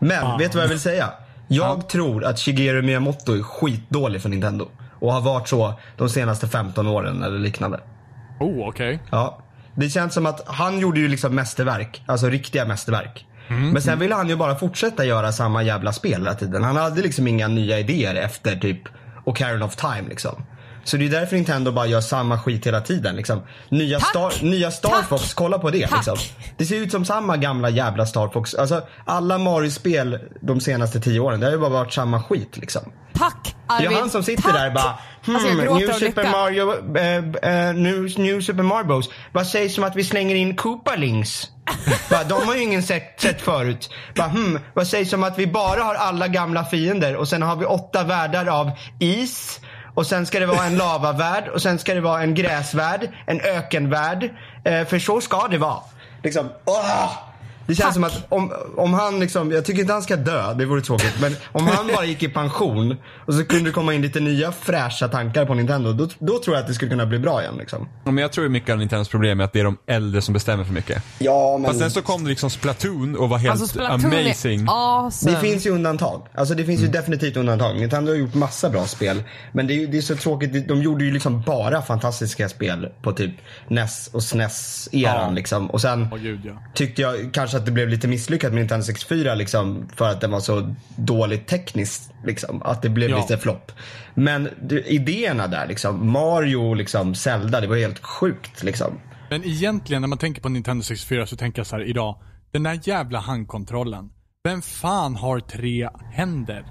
Men, vet du vad jag vill säga? Jag tror att Shigeru Miyamoto är skitdålig för Nintendo. Och har varit så de senaste 15 åren eller liknande.
Oh, okej.
Ja. Det känns som att han gjorde ju liksom mästerverk. Alltså riktiga mästerverk.
Mm.
Men sen ville han ju bara fortsätta göra samma jävla spel hela tiden. Han hade liksom inga nya idéer efter typ Ocarina of Time liksom. Så det är därför Nintendo bara gör samma skit hela tiden. Liksom. Nya,
Tack!
Star, nya Star
Tack!
Fox, kolla på det.
Tack!
Liksom. Det ser ut som samma gamla jävla Star Fox. Alltså, alla Mario-spel de senaste tio åren, det har ju bara varit samma skit. Liksom.
Tack
Det
Arvid!
är han som sitter
Tack!
där bara, hmm,
Alltså, jag gråter
New
av
Super
lycka.
Mario, eh, eh, new, new Super Mario Bros. Vad sägs om att vi slänger in Koopalings? bara, de har ju ingen sett, sett förut. Bara, hmm, vad sägs om att vi bara har alla gamla fiender och sen har vi åtta världar av is. Och sen ska det vara en lavavärld och sen ska det vara en gräsvärld, en ökenvärld. Eh, för så ska det vara. Liksom, åh! Det känns
Tack.
som att om, om han liksom, jag tycker inte han ska dö, det vore tråkigt. Men om han bara gick i pension och så kunde det komma in lite nya fräscha tankar på Nintendo. Då, då tror jag att det skulle kunna bli bra igen liksom.
Men jag tror mycket av Nintendos problem är att det är de äldre som bestämmer för mycket.
Ja men.
Fast sen så kom det liksom Splatoon och var helt
Alltså Splatoon
amazing.
är awesome.
Det finns ju undantag. Alltså det finns ju definitivt undantag. Nintendo har gjort massa bra spel. Men det är, ju- det är så tråkigt, de gjorde ju liksom bara fantastiska spel på typ NES och SNES-eran
Ja.
liksom. Och sen
Åh gud ja.
tyckte jag kanske att det blev lite misslyckat med Nintendo 64 liksom, för att den var så dåligt tekniskt. Liksom, att det blev
Ja.
lite flopp. Men du, idéerna där, liksom, Mario och liksom, Zelda, det var helt sjukt. Liksom.
Men egentligen när man tänker på Nintendo 64 så tänker jag så här idag. Den där jävla handkontrollen. Vem fan har tre händer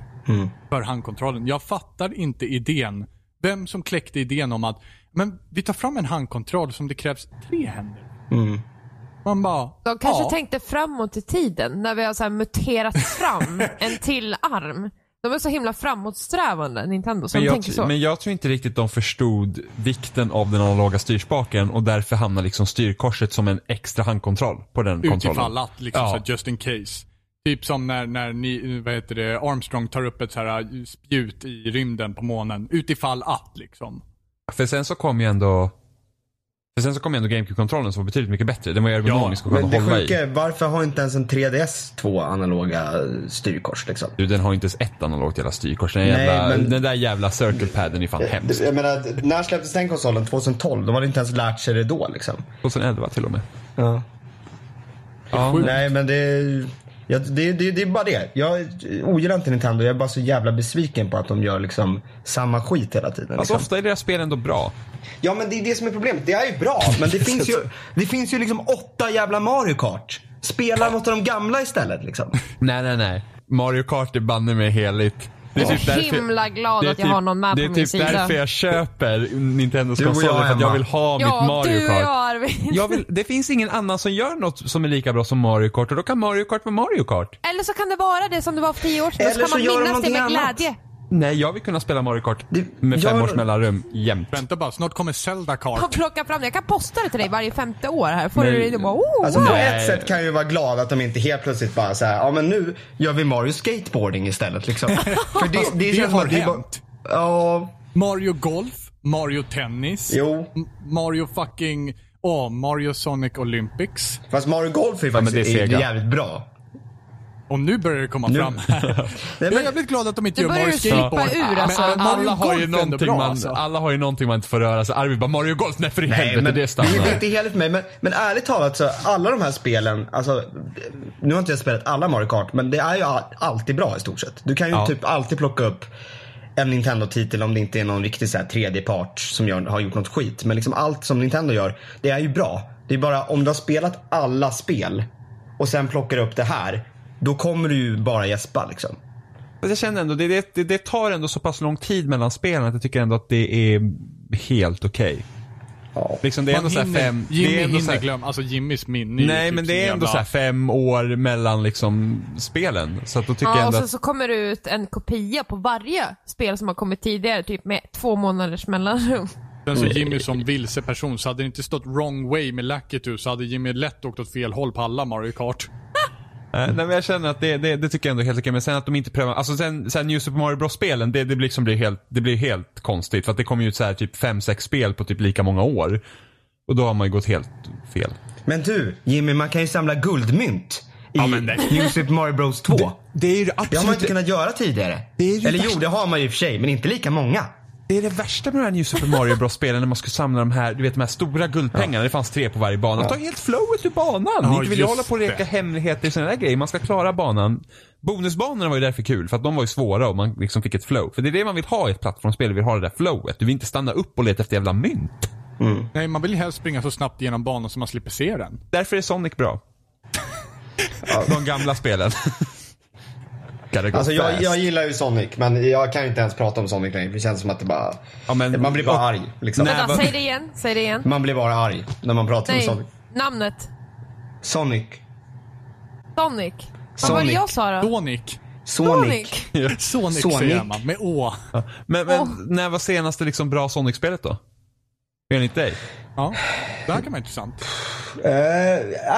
för handkontrollen? Jag fattar inte idén. Vem som kläckte idén om att men vi tar fram en handkontroll som det krävs tre händer. Man bara,
De kanske
ja.
tänkte framåt i tiden när vi har så här muterat fram en till arm. De är så himla framåtsträvande, Nintendo, så
Men
de
jag,
tänker
tr-
så.
men jag tror inte riktigt de förstod vikten av den analoga styrspaken och därför hamnar liksom styrkorset som en extra handkontroll på den
Utifall
kontrollen.
att, liksom
Ja.
så här, just in case. Typ som när, när ni, vad heter det, Armstrong tar upp ett så här spjut i rymden på månen. Utifall att liksom.
För sen så kom ju ändå för sen så kom ju ändå GameCube-kontrollen som var betydligt mycket bättre. Den var ju ergonomisk och
Men
skön
det
att hålla
sjuka
i.
är, varför har inte ens en 3DS två analoga eh, styrkors? Liksom?
Du, den har ju inte ens ett analogt jävla styrkors. Den,
Nej,
jävla,
men-
den där jävla circle paden är fan hemsk.
Jag menar, när släpptes den konsolen? 2012? De hade inte ens lärt sig det då. Liksom.
2011 till och med.
Ja.
Ja,
Nej men det, ja, det, det, det är bara det. Jag ogillar inte Nintendo. Jag är bara så jävla besviken på att de gör liksom samma skit hela tiden.
alltså
Liksom.
ofta är deras spel ändå bra.
Ja men det är det som är problemet. Det är ju bra. Men det finns ju, det finns ju liksom åtta jävla Mario Kart. Spela något av de gamla istället liksom.
Nej, nej, nej. Mario Kart är banne mig heligt. Det är typ
Jag är himla glad
det är
att jag har någon
det
med på
är
min
typ
sida.
därför jag köper Nintendos
Du och
konsoler,
jag,
för att jag
Emma.
vill ha mitt
ja,
Mario
du och
Kart.
jag Arvid.
Jag vill, det finns ingen annan som gör något som är lika bra som Mario Kart och då kan Mario Kart vara Mario Kart.
Eller så kan det vara det som det var för tio år sedan.
Eller
Eller så kan
så gör
man
de
minnas det med
någonting annat.
glädje.
Nej, jag vill kunna spela Mario Kart
Det-
med
jag-
fem års mellanrum jämt.
Vänta bara, snart kommer Zelda
Jag
Kart.
plockar fram det. Jag kan posta det till dig varje femte år här. Får
Men-
du det bara, oh,
Alltså
wow.
på
Nej.
ett sätt kan jag ju vara glad att de inte helt plötsligt bara så här, ja men nu gör vi Mario Skateboarding istället liksom. För det, det,
Det
känns som
har
att det är bara-
hänt.
Ja,
Mario Golf, Mario Tennis,
Jo.
M- Mario fucking, åh, Mario Sonic Olympics.
fast Mario Golf är ju
men
faktiskt
det är
är
Sega.
jävligt bra.
Och nu börjar det komma fram här. Jag är jävligt glad att de inte
Nu
gör
börjar
Mario
du slippa
Skateboard.
ur,
Men-
alltså.
Men
Mario
alla har ju
Golf är ändå
någonting
bra,
man...
alltså. Alla har ju någonting man inte får röra sig. Arvid bara Mario Golf, nej för i helvete
men
det stannar.
Det är inte helt för mig. Men, men ärligt talat så alla de här spelen, alltså, nu har inte jag spelat alla Mario Kart, men det är ju all- alltid bra i stort sett. Du kan ju
Ja.
typ alltid plocka upp en Nintendo-titel om det inte är någon riktig så här, tredjepart som gör, har gjort något skit. Men liksom allt som Nintendo gör, det är ju bra. Det är bara om du har spelat alla spel och sen plockar upp det här, då kommer du ju bara gäspa liksom.
Fast jag känner ändå, det, det, det, det tar ändå så pass lång tid mellan spelen att jag tycker ändå att det är helt okej.
Ja.
Liksom det är
Man
ändå såhär
hinner-
fem... det
Jimmy
är ändå så
hinner
här-
glömma, alltså Jimmys minne ju
Nej
typ
men
som
det är ändå
jävla-
såhär fem år mellan liksom spelen. Så att då tycker jag
Ja, och
ändå
sen
att,
så kommer det ut en kopia på varje spel som har kommit tidigare, typ med två månaders mellanrum.
Sen så Jimmy som vilse person, så hade det inte stått wrong way med Lakitu så hade Jimmy lätt åkt åt fel håll på alla Mario Kart.
nej nej, men jag känner att det, det, det tycker jag ändå är helt okej. Men sen att de inte prövar, alltså sen, sen New Super Mario Bros-spelen, det, det, blir liksom blir helt, det blir helt konstigt. För att det kommer ju ut såhär typ fem, sex spel på typ lika många år. Och då har man ju gått helt fel.
Men du, Jimmy, man kan ju samla guldmynt i New Super Mario Bros 2.
Det är ju
Det har man inte
absolut
kunnat göra tidigare.
Det är ju
Eller
värst-
jo, det har man ju i och för sig, men inte lika många.
Det är det värsta med de här New Super Mario Bros-spelen när man skulle samla de här, du vet de här stora guldpengarna. Det fanns tre på varje bana. Ta helt flowet ur banan.
Ja,
inte vill jag
just
hålla på och leka
det.
hemligheter i sådana där grejer. Man ska klara banan. Bonusbanorna var ju därför kul, för att de var ju svåra och man liksom fick ett flow. För det är det man vill ha i ett plattformsspel, du vill ha det där flowet. Du vill inte stanna upp och leta efter jävla mynt.
Nej, man vill ju helst springa så snabbt genom banan så man slipper se den.
Därför är Sonic bra. de gamla spelen. Gotta go
Alltså jag,
fast.
jag gillar ju Sonic, men jag kan inte ens prata om Sonic längre. för Det känns som att det bara...
Ja, men-
man blir bara
och-
arg. Liksom.
Nej.
Vänta,
vad-
säg det igen. Säg det igen.
Man blir bara arg när man pratar om
Nej,
Sonic.
namnet.
Sonic.
Sonic. Vad var det
Sonic.
jag sa då?
Sonic.
Sonic.
Sonic,
Sonic.
säger man. Med Å.
Men, men
Åh.
när var senaste liksom bra Sonic-spelet då? Enligt dig?
Ja. Det här kan vara intressant.
Eh,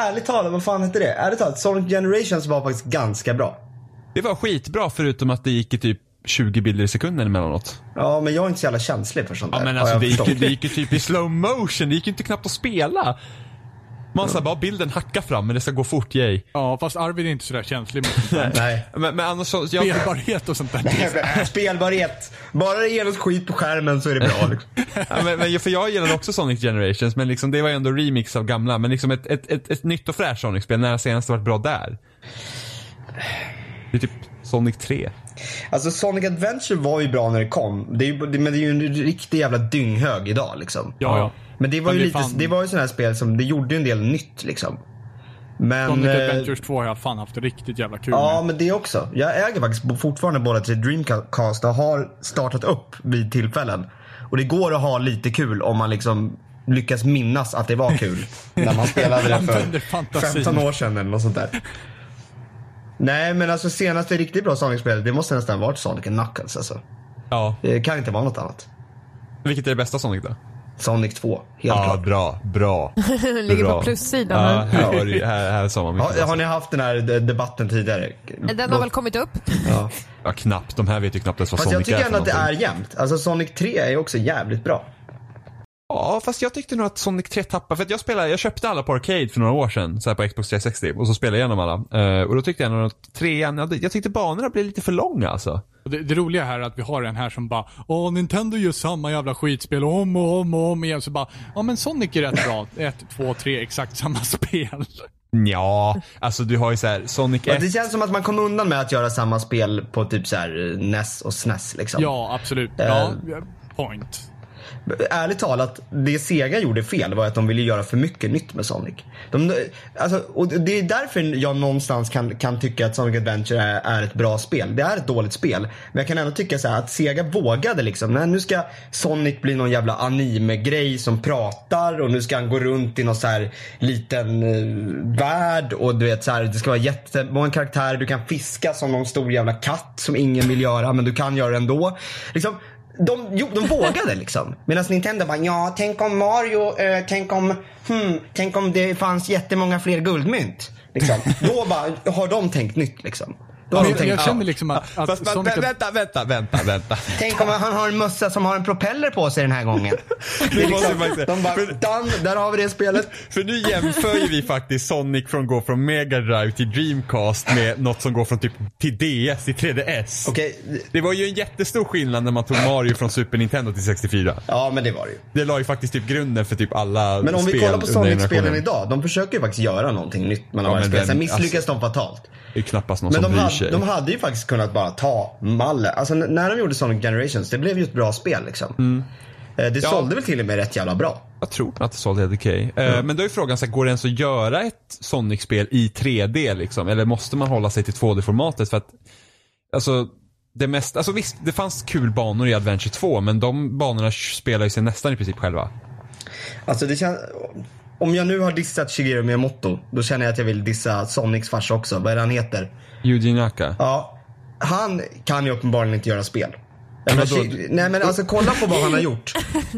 ärligt talat, vad fan hette det? Ärligt talat, Sonic Generations var faktiskt ganska bra.
Det var skitbra förutom att det gick i typ 20 bilder i sekunden emellanåt.
Ja, men jag är inte så jävla känslig för sånt
Ja
där.
men
har
alltså
jag
det gick, ju-
förstått.
det gick ju typ i slow motion, det gick ju inte knappt att spela. Man sa bara bilden hackar fram men det ska gå fort, yay.
Ja, fast Arvid är inte sådär känslig mot sånt där.
Nej.
Men, men annars så, jag,
spelbarhet och sånt där.
Spelbarhet. Bara det ger oss skit på skärmen så är det bra. Liksom.
ja, men, men, för jag gillade också Sonic Generations men liksom, det var ju ändå remix av gamla. Men liksom ett, ett, ett, ett nytt och fräscht Sonic-spel, när har senast det varit bra där? Det är typ Sonic 3.
Alltså Sonic Adventure var ju bra när det kom. Det är, ju- det, men det är ju en riktig jävla dynghög idag liksom.
Ja, ja.
Men det var
Men
ju
det är
lite,
fan-
det var ju sådana här spel som, det gjorde ju en del nytt liksom. Men,
Sonic
eh,
Adventures 2 har jag fan haft riktigt jävla kul
Ja,
med.
men det också. Jag äger faktiskt bo- fortfarande båda tre Dreamcast och har startat upp vid tillfällen. Och det går att ha lite kul om man liksom lyckas minnas att det var kul. när man spelade det
Använder
för
fantasin.
15 år sedan eller något sånt där. Nej, men alltså senaste riktigt bra Sonic-spelet, det måste nästan varit Sonic and Knuckles alltså.
Ja.
Det kan inte vara något annat.
Vilket är det bästa Sonic då?
Sonic 2, helt klart.
bra, bra.
Ligger
Bra.
på plussidan.
Ja,
men-
här, var det, ju- här, här sa man mycket.
Har, har ni haft den här de- debatten tidigare?
Den har väl kommit upp?
Ja.
Ja, knappt. De här vet ju knappt ens vad
Fast jag
Sonic
tycker
är för
ändå att det är
någonting.
jämnt. Alltså Sonic 3 är ju också jävligt bra.
Ja, fast jag tyckte nog att Sonic 3 tappade. För att jag spelade, jag köpte alla på Arcade för några år sedan. Så här på Xbox 360. Och så spelade jag igenom alla. Eh, och då tyckte jag nog att trean, jag, jag tyckte banorna blev lite för långa alltså.
Och Det, det roliga här är att vi har en här som bara Åh, Nintendo gör samma jävla skitspel om och om och om igen. Så bara Ja men Sonic är rätt bra. Ett, två, tre, exakt samma spel.
Ja, alltså du har ju så här Sonic
Ja,
1.
det känns som att man kom undan med att göra samma spel på typ så här eh, NES och SNES. Liksom.
Ja, absolut. Ja, point.
Ärligt talat, det Sega gjorde fel var att de ville göra för mycket nytt med Sonic. De, alltså, och det är därför jag någonstans kan, kan tycka att Sonic Adventure är, är ett bra spel. Det är ett dåligt spel. Men jag kan ändå tycka så här att Sega vågade liksom. Nej, nu ska Sonic bli någon jävla anime-grej som pratar och nu ska han gå runt i någon så här liten eh, värld och du vet så här, det ska vara jättemånga karaktärer. Du kan fiska som någon stor jävla katt som ingen vill göra men du kan göra det ändå. Liksom, de, jo, de vågade liksom. Medan Nintendo bara, ja, tänk om Mario, eh, tänk om, hmm, tänk om det fanns jättemånga fler guldmynt. Liksom. Då bara, har de tänkt nytt liksom. Då har de
Jag,
tänkt,
jag känner
ja,
liksom att, att
Fast,
Sonic...
vänta, vänta, vänta, vänta, vänta.
tänk om han har en mössa som har en propeller på sig den här gången. Det är
måste
liksom,
man ju säga.
de bara,
För-
done, där har vi det spelet.
För nu jämför ju vi faktiskt Sonic från gå från Mega Drive till Dreamcast med något som går från typ till DS till 3DS.
Okej,
Det var ju en jättestor skillnad när man tog Mario från Super Nintendo till 64.
ja men det var det ju.
Det la ju faktiskt typ grunden för typ alla
Men om
spel
vi kollar på
under
Sonic-spelen
generationen.
idag, de försöker ju faktiskt göra någonting nytt mellan
Ja,
varje
men
spel.
vem-
Sen misslyckas
alltså-
de fatalt.
Det är knappast någon
Men
som
de
bryr
hade,
sig.
de hade ju faktiskt kunnat bara ta mallen. Alltså n- när de gjorde Sonic Generations, det blev ju ett bra spel liksom.
Mm.
Eh, Det sålde väl till och med rätt jävla bra.
Jag tror att det sålde helt okej. Eh, Men då är frågan, så här, går det ens att göra ett Sonic-spel i 3D liksom? Eller måste man hålla sig till 2D-formatet? För att, alltså, det mest, alltså visst, det fanns kul banor i Adventure 2, men de banorna spelar ju sig nästan i princip själva.
Alltså det känns... Om jag nu har dissat Shigeru Miyamoto, då känner jag att jag vill dissa Sonics farsa också. Vad är det han heter?
Yuji Naka.
Ja, han kan ju uppenbarligen inte göra spel. Jag
Men
menar,
då-
Shi- nej men alltså kolla på vad han har gjort.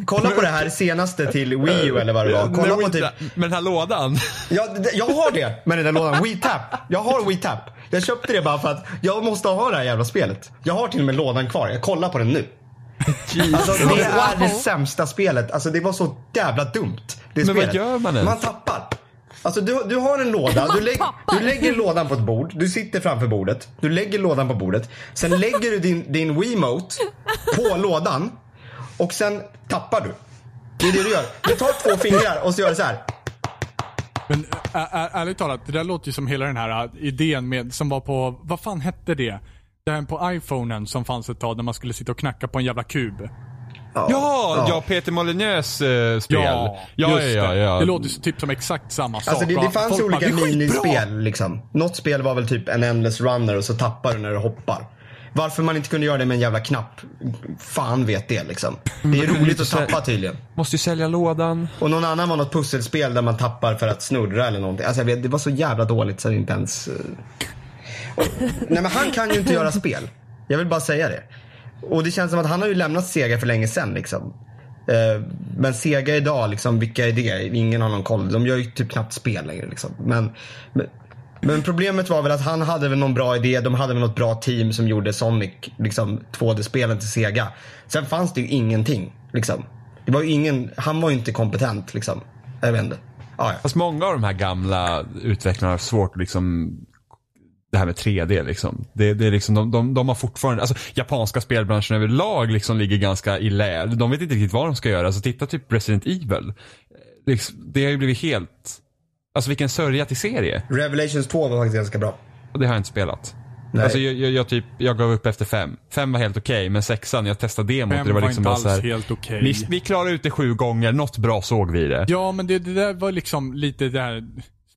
Kolla på det här senaste till Wii U eller vad det var. Kolla
Men
på
inte-
typ
Men den här lådan.
Ja, d- jag har det med den där lådan. WeTap. Jag har WeTap. Jag köpte det bara för att jag måste ha det här jävla spelet. Jag har till och med lådan kvar. Jag kollar på den nu. Alltså, det är det sämsta spelet. Alltså det var så jävla dumt. Det
Men vad
spelet.
gör man ens?
Man tappar. Alltså du, du har en låda. Du, lägg,
tappar.
du lägger lådan på ett bord. Du sitter framför bordet. Du lägger lådan på bordet. Sen lägger du din, din Wiimote på lådan. och sen tappar du. Det är det du gör. Du tar två fingrar och så gör du så här.
Men ä- ä- ärligt talat, det där låter ju som hela den här ä, idén med, som var på, vad fan hette det? Den på iPhonen som fanns ett tag när man skulle sitta och knacka på en jävla kub.
Ja, ja, Peter Molineux eh, spel. Ja, ja,
just
ja,
det.
ja.
Det låter ju typ som exakt samma sak.
Alltså det, det
Och
fanns
folk
ju olika
bara, "Det är skitbra!"
minispel liksom. Något spel var väl typ en endless runner och så tappar du när du hoppar. Varför man inte kunde göra det med en jävla knapp, fan vet det liksom.
Mm,
Det är roligt att tappa tydligen.
Måste ju sälja lådan.
Och någon annan var något pusselspel där man tappar för att snurra eller någonting. Alltså jag vet, det var så jävla dåligt så det inte ens... eh. Och, nej men han kan ju inte göra spel. Jag vill bara säga det. Och det känns som att han har ju lämnat Sega för länge sedan liksom. Eh, Men Sega idag, liksom, vilka är det? Ingen har någon koll. De gör ju typ knappt spel längre. Liksom. Men, men, men problemet var väl att han hade väl någon bra idé. De hade väl något bra team som gjorde Sonic, liksom 2D-spelen till Sega. Sen fanns det ju ingenting. Liksom. Det var ju ingen, han var ju inte kompetent liksom. Jag vet inte. Ah, ja.
Fast många av de här gamla utvecklarna har svårt att liksom det här med 3D liksom. Det, det är liksom de, de, de har fortfarande, alltså japanska spelbranschen överlag liksom ligger ganska i lä. De vet inte riktigt vad de ska göra. Alltså titta typ Resident Evil. Eh, Liksom, det har ju blivit helt, alltså vilken sörja till serie.
Revelations 2 var faktiskt ganska bra.
Och det har jag inte spelat.
Nej.
Alltså jag, jag, jag, typ, jag gav upp efter fem. Fem var helt okej, men sexan, jag testade demot.
Fem
det var liksom
inte
bara
alls
så här,
helt okej.
vi, vi klarade ut det sju gånger, något bra såg vi i det.
Ja, men det, det där var liksom lite det här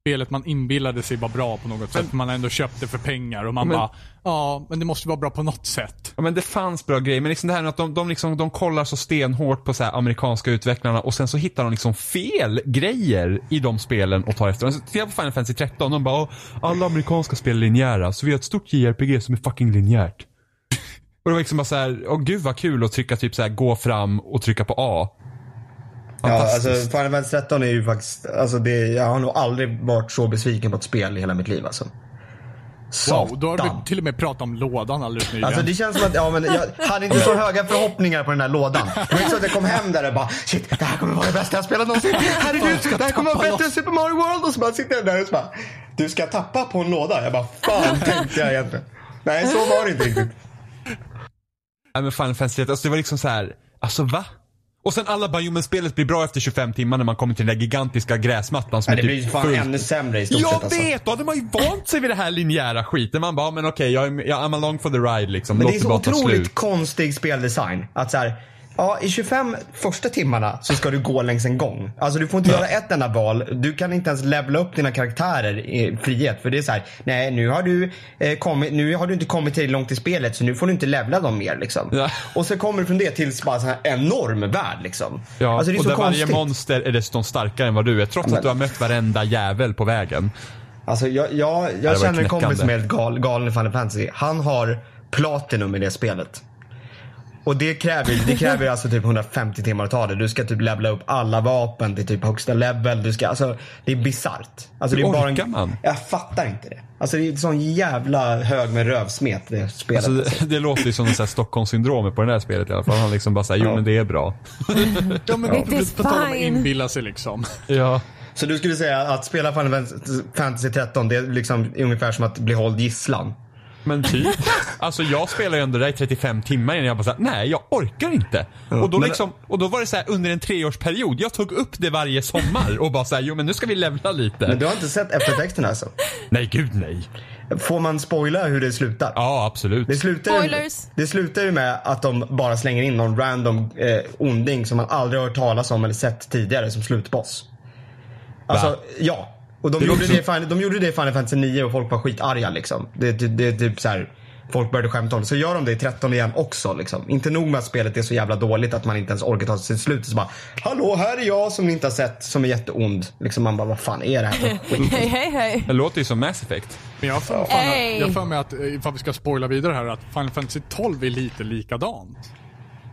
spelet man inbillade sig var bra på något sätt. Man ändå köpte för pengar och man
Men-
bara, ja, men det måste vara bra på något sätt.
Ja men det fanns bra grejer, men liksom det här med att de, de, liksom, de kollar så stenhårt på så här amerikanska utvecklarna och sen så hittar de liksom fel grejer i de spelen och tar efter. Alltså, Titta på Final Fantasy 13, de bara "Åh, alla amerikanska spel är linjära, så vi har ett stort JRPG som är fucking linjärt. Och det var liksom bara så här, åh gud vad kul att trycka typ så här gå fram och trycka på A.
Ja, alltså
Fantastiskt.
Final Fantasy 13 är ju faktiskt, alltså det, jag har nog aldrig varit så besviken på ett spel i hela mitt liv alltså. Satan.
Wow, då har vi till och med pratat om lådan alldeles nyligen.
Alltså det känns som att, ja men jag hade inte så höga förhoppningar på den här lådan. Det var inte så att jag kom hem där och bara shit, det här kommer vara det bästa jag spelat någonsin. Herregud, det här kommer vara bättre än Super Mario World. Och så bara sitter jag där och så bara, du ska tappa på en låda. Jag bara, fan tänkte jag egentligen. Nej, så var det inte riktigt.
Nej men Final Fantasy 13, alltså det var liksom så här, alltså va? Och sen alla bara, jo men spelet blir bra efter 25 timmar när man kommer till den där gigantiska gräsmattan som
Nej, det
är
blir ju
typ
fan
full-
ännu sämre i stort
Jag
sett alltså.
vet! Då hade man ju vant sig vid det här linjära skiten. Man bara, "Ja, men okej, jag, är- jag, I'm along for the ride liksom.
Men
Låt
det är så
bara ta
otroligt
slut.
konstig speldesign. Att så här, ja, I 25 första timmarna så ska du gå längs en gång. Alltså du får inte göra ett enda val. Du kan inte ens levla upp dina karaktärer i frihet. För det är så här, nej nu har du, eh, kommit, nu har du inte kommit till långt i spelet så nu får du inte levla dem mer liksom.
Ja.
Och så kommer du från det till bara så här enorm värld liksom.
Ja,
alltså det är
och
så
där
konstigt.
varje monster är dessutom starkare än vad du är. Trots
Men-
att du har mött varenda jävel på vägen.
Alltså jag, jag,
var
jag känner en
knäckande.
kompis som är helt gal, galen i Final Fantasy. Han har platinum i det spelet. Och det kräver, det kräver alltså typ 150 timmar att ta det. Du ska typ levla upp alla vapen till typ högsta level. Du ska, alltså, det är bisarrt. Alltså, det är
Hur
bara
orkar man?
Jag fattar inte det. Alltså det är en sån jävla hög med rövsmet det spelet.
Alltså, det, det låter ju som en sån här Stockholmssyndrom på det där spelet i alla fall. Han liksom bara säger, jo men det är bra.
ja, men
It is
på tal om att
fine.
inbilla sig liksom.
Ja.
Så du skulle säga att spela Final Fantasy 13, det är liksom ungefär som att bli hålld gisslan?
Men typ. Alltså jag spelade ju ändå där i 35 timmar innan jag bara såhär, nej jag orkar inte. och, då
men-
liksom, och då var det så här under en treårsperiod, jag tog upp det varje sommar och bara såhär, jo men nu ska vi levla lite.
Men du har inte sett eftertexten alltså?
Nej gud nej.
Får man spoila hur det slutar?
Ja absolut.
Det slutar, ju,
Spoilers.
det slutar ju med att de bara slänger in någon random eh, onding som man aldrig har hört talas om eller sett tidigare som slutboss. Alltså,
Va?
ja. Och de,
Det
gjorde
låter
det, i Final- de gjorde det i Final Fantasy 9 och folk var skitarga liksom. Det, det, det är typ så här. Folk började skämta om det. Så gör de det i 13 igen också. Liksom. Inte nog med att spelet är så jävla dåligt att man inte ens orkar ta sig till slutet. Så bara, hallå här är jag som ni inte har sett som är jätteond. Liksom man bara, vad fan är det här för skit?
Hej, hej, hej.
Det låter ju som Mass Effect.
Men jag har för, fan,
Ey.
jag har för mig att, eh, ifall vi ska spoila vidare här, att Final Fantasy 12 är lite likadant.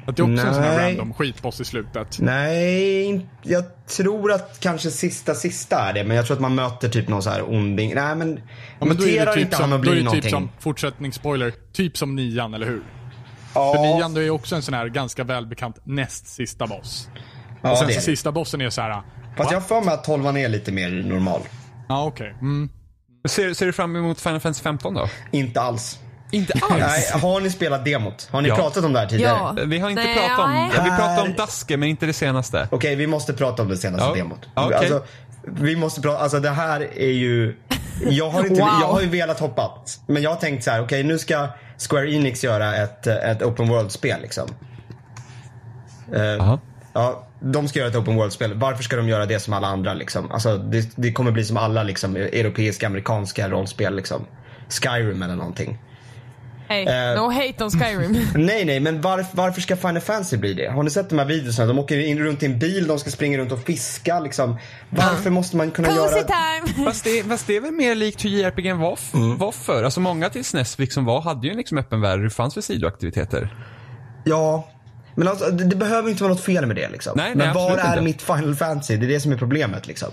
Att det är också en sån här
Nej.
random skitboss i slutet.
Nej, in- jag tror att kanske sista sista är det. Men jag tror att man möter typ någon så här onding. Nej men,
Ja, men då är
muterar
det typ
inte han
som,
och
då är
blir
det typ
någonting?
som, fortsättningsspoiler, typ som nian, eller hur? För
ja,
nian då är också en sån här ganska välbekant näst sista boss.
ja,
och sen
det
så
är det.
sista bossen är så här.
Fast jag har för mig att tolvan är lite mer normal.
Ja, okej. Mm.
Ser, ser du fram emot Final Fantasy 15 då?
Inte alls.
Inte
Nej,
alls.
har ni spelat demot? Har ni
Ja.
pratat om det här tidigare?
Ja.
Vi har inte
Nej.
pratat om, vi pratade om
Här-
Daske men inte det senaste.
Okej, vi måste prata om det senaste
Ja.
demot.
Ja, okej.
Alltså, vi måste prata, alltså det här är ju... Jag har, inte,
Wow.
jag har ju velat hoppa. Men jag har tänkt så här, okej nu ska Square Enix göra ett, eh, ett open world-spel liksom. Eh,
Jaha.
Ja, de ska göra ett open world-spel. Varför ska de göra det som alla andra liksom? Alltså det, det kommer bli som alla liksom, europeiska, amerikanska rollspel liksom. Skyrim eller någonting.
Hey,
Eh.
no hate on Skyrim.
Nej, nej, men varf- varför ska Final Fantasy bli det? Har ni sett de här videorna? De åker in runt i en bil, de ska springa runt och fiska liksom. Varför måste man kunna
Cozy
göra...
time!
Fast det, fast det är väl mer likt hur JRPG var, f- var förr? Alltså många till SNES liksom var, hade ju en liksom öppen värld, det fanns väl sidoaktiviteter?
Ja. Men alltså, det, det behöver inte vara något fel med det liksom.
Nej, nej,
men var
absolut
är
inte.
mitt Final Fantasy? Det är det som är problemet liksom.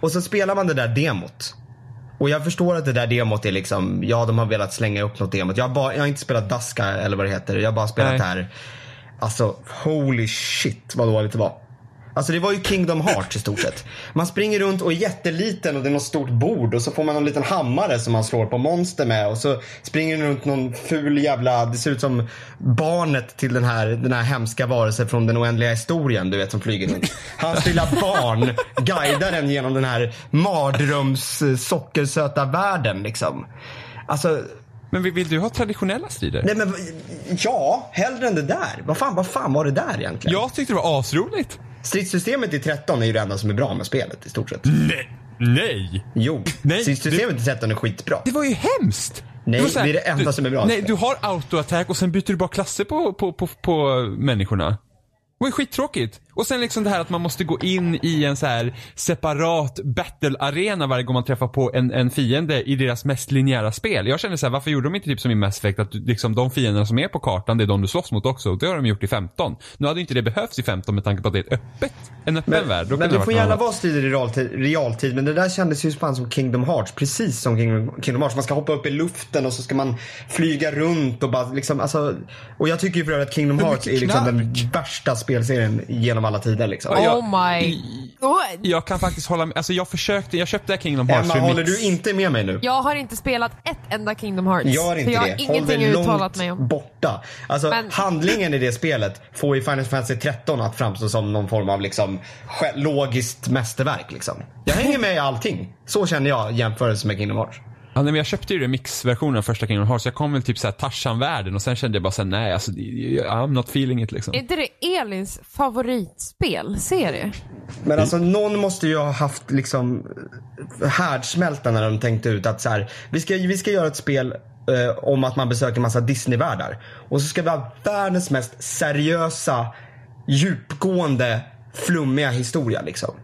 Och så spelar man det där demot. Och jag förstår att det där demot är liksom, ja de har velat slänga upp något demot. Jag har, bara, jag har inte spelat Daska eller vad det heter. Jag har bara spelat
Nej.
det här. Alltså, holy shit vad dåligt det var. Alltså det var ju Kingdom Hearts i stort sett. Man springer runt och är jätteliten och det är något stort bord och så får man någon liten hammare som man slår på monster med och så springer det runt någon ful jävla, det ser ut som barnet till den här, den här hemska varelsen från den oändliga historien du vet som flyger runt. Hans lilla barn guidar den genom den här mardröms eh, sockersöta världen liksom. Alltså
Men vill, vill du ha traditionella strider?
Nej men ja, hellre än det där. Vad fan, vad fan var det där egentligen?
Jag tyckte det var asroligt.
Stridssystemet i 13 är ju det enda som är bra med spelet i stort sett.
Nej. Nej.
Jo,
Mm. Nej,
stridssystemet i 13 är skitbra.
Det var ju hemskt.
Nej,
var så här,
det är det enda
du,
som är bra.
Nej, du har autoattack och sen byter du bara klasser på, på, på, på människorna. Det var ju skittråkigt. Och sen liksom det här att man måste gå in i en så här separat battle-arena varje gång man träffar på en, en fiende i deras mest linjära spel. Jag känner så här, varför gjorde de inte typ som i Mass Effect att du- liksom de fienderna som är på kartan, det är de du slåss mot också. Det har de gjort i 15. Nu hade ju inte det behövts i 15 med tanke på att det är ett öppet, en öppen värld. Då
men
kunde
det får
ha varit något
gärna
annat.
vara strider i realtid, realtid, men det där kändes ju fan som Kingdom Hearts. Precis som Kingdom, Kingdom Hearts. Man ska hoppa upp i luften och så ska man flyga runt och bara liksom, alltså. Och jag tycker ju för övrigt att Kingdom
Men
Hearts är
vilket
liksom den värsta spelserien genom alla tider liksom.
Ja,
Oh my god.
Jag kan faktiskt hålla med. Alltså jag försökte, jag köpte Kingdom Hearts
Emma,
Remix.
håller du inte med mig nu?
Jag har inte spelat ett enda Kingdom Hearts.
Gör
för
inte
jag har
det. Håll
ingenting
dig
uttalat
långt
mig om.
borta. Alltså,
Men-
handlingen i det spelet får ju Final Fantasy 13 att framstå som någon form av liksom, sj- logiskt mästerverk. Liksom. Jag hänger med i allting. Så känner jag i jämförelse med Kingdom Hearts.
Ja, nej, men jag köpte ju remixversionen av första Kingdom Hearts. Jag kom väl typ såhär Tarzan-världen och sen kände jag bara såhär, nej alltså, I'm not feeling it liksom.
Är inte det Elins favoritspel? Serie?
Men
Mm.
alltså någon måste ju ha haft liksom härdsmälta när de tänkte ut att så här, vi, ska, vi ska göra ett spel eh, om att man besöker massa Disneyvärldar. Och så ska vi ha världens mest seriösa, djupgående, flummiga historia liksom.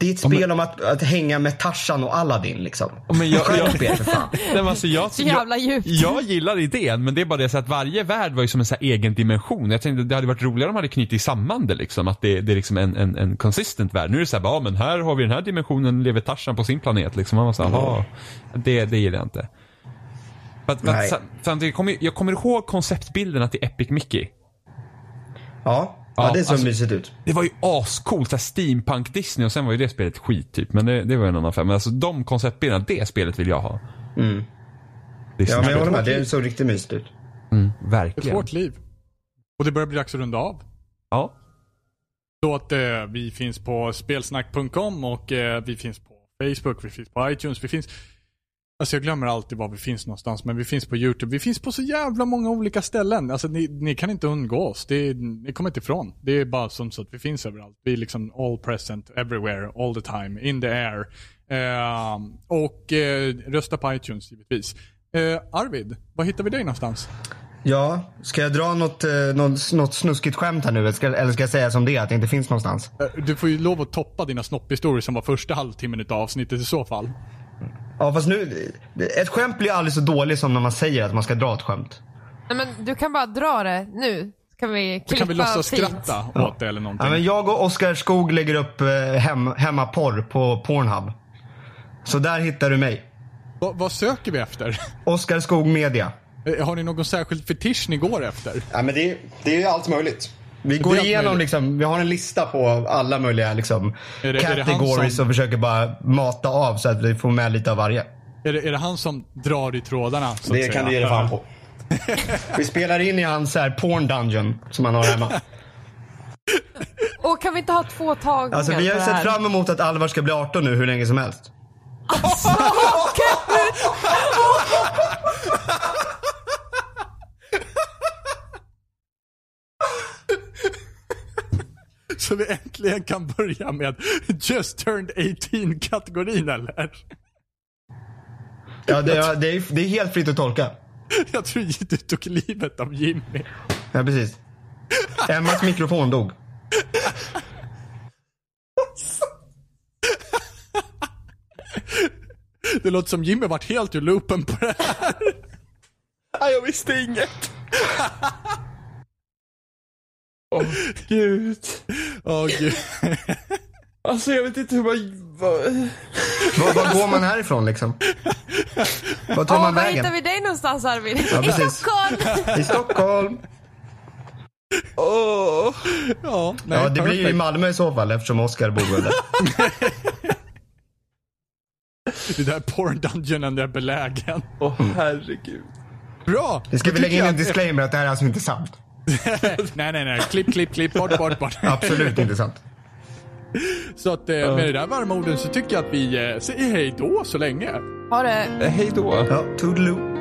Det är ett spel om att, att hänga med Tarzan och Aladdin liksom.
Ja, men jag-
Skärp
jag-
er för fan.
Nej, men alltså, jag,
Så jävla djupt.
Jag, jag gillar idén, men det är bara det så att varje värld var ju som en så här egen dimension. Jag tänkte det hade varit roligare om de hade knutit samman det liksom. Att det, det är liksom en, en, en consistent värld. Nu är det såhär, ja men här har vi den här dimensionen, lever Tarzan på sin planet liksom. Man var såhär, ja. Det, det gillar jag inte. But, but,
Nej.
samtidigt, kommer, jag kommer ihåg konceptbilderna till Epic Mickey.
Ja, ja, det såg
alltså-
mysigt ut.
Det var ju ascoolt, såhär steampunk Disney och sen var ju det spelet skit typ. Men det, det var ju en annan affär. Men alltså de konceptbilderna, det spelet vill jag ha.
Mm. Ja, men jag håller
Disney-spel.
med. Det såg riktigt mysigt ut.
Ett
Verkligen.
hårt liv. Och det börjar bli dags att runda av.
Ja.
Så att eh, vi finns på spelsnack.com och eh, vi finns på Facebook, vi finns på iTunes, vi finns... Alltså jag glömmer alltid var vi finns någonstans, men vi finns på YouTube. Vi finns på så jävla många olika ställen. Alltså ni, ni kan inte undgå oss. Det, ni kommer inte ifrån. Det är bara som så att vi finns överallt. Vi är liksom all present, everywhere, all the time, in the air. Eh, och eh, rösta på iTunes givetvis. Eh, Arvid, var hittar vi dig någonstans?
Ja, ska jag dra något, eh, något, något snuskigt skämt här nu? Eller ska, eller ska jag säga som det är, att det inte finns någonstans?
Eh, Du får ju lov att toppa dina snopphistorier som var första halvtimmen utav avsnittet i så fall.
Ja fast nu, ett skämt blir aldrig så dåligt som när man säger att man ska dra ett skämt.
Nej, men du kan bara dra det nu. Så kan vi klippa
Så kan vi låtsas
fint.
skratta åt det eller någonting.
Ja, men jag och Oskar Skog lägger upp eh, hem, hemmaporr på Pornhub. Så där hittar du mig.
Va, vad söker vi efter?
Oskar Skog Media.
Eh, Har ni någon särskild fetisch ni går efter?
Ja, men det, det är allt möjligt. Vi går
Det är allt
igenom,
möjligt.
liksom, vi har en lista på alla möjliga liksom,
Är det- är det han
categories
som-
och försöker bara mata av så att vi får med lite av varje.
Är det, är det han som drar i trådarna? Så att säga?
på. Vi spelar in i hans så här porn dungeon som han har hemma.
Och kan vi inte ha två tagningar
Alltså vi har
på
ju
det
sett
här?
fram emot att Alvar ska bli 18 nu hur länge som helst.
Så vi äntligen kan börja med Just turned 18-kategorin eller?
Ja, det, ja, det, är, det är helt fritt att tolka.
Jag tror du tog livet av Jimmy.
Ja, precis. Emmas mikrofon dog.
Det låter som Jimmy varit helt ur loopen på det här.
Nej, jag visste inget. Åh gud.
Åh gud.
Alltså jag vet inte hur man... vad-
Var, var går man härifrån liksom? Var tar
Åh,
man
var hittar
vägen?
vi dig någonstans Arvid? I
precis.
Stockholm!
I Stockholm.
Åh.
Ja, nej,
Ja, det blir ju i
perfect.
Malmö i så fall eftersom Oscar bor väl där.
Det där porn dungeonen är belägen.
Åh herregud.
Bra!
Det ska
Då
vi lägga
tycker
in
jag
en
att-
disclaimer att det här är alltså inte sant.
Nej, nej, nej. Klipp, klipp, klipp. Bort, bort, bort.
Absolut inte sant.
Så att eh, med det där varma orden så tycker jag att vi eh, säger hej då så länge.
Ha det
Eh, Hej då.
Ja, toodaloo.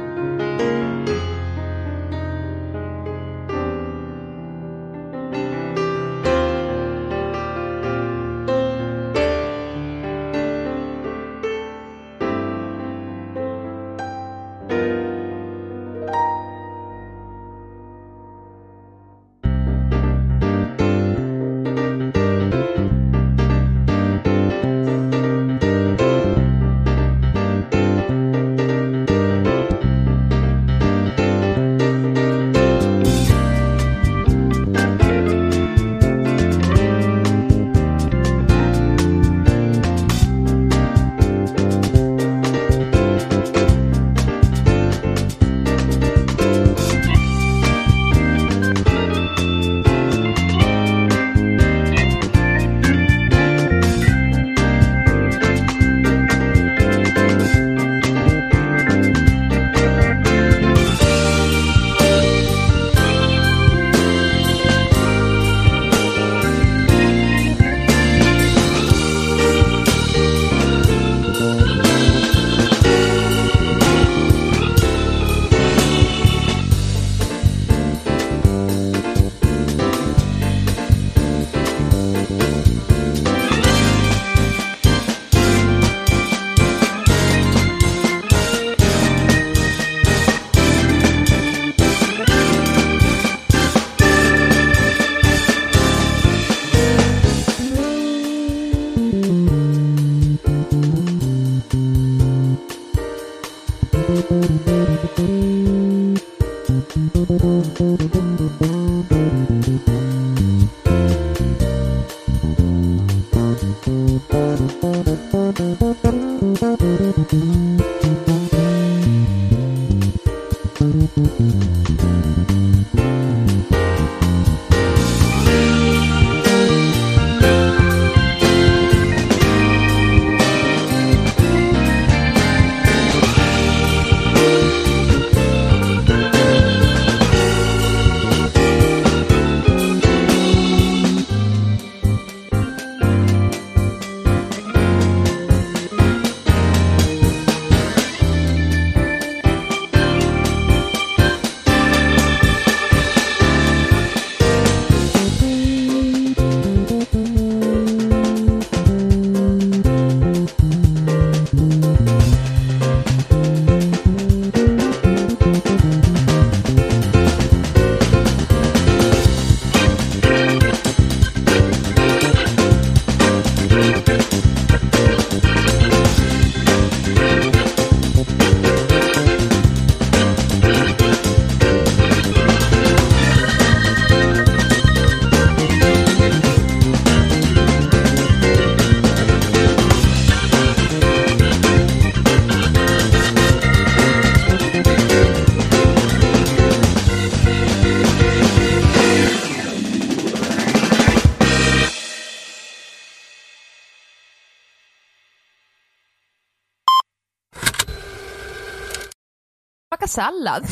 Smaka sallad.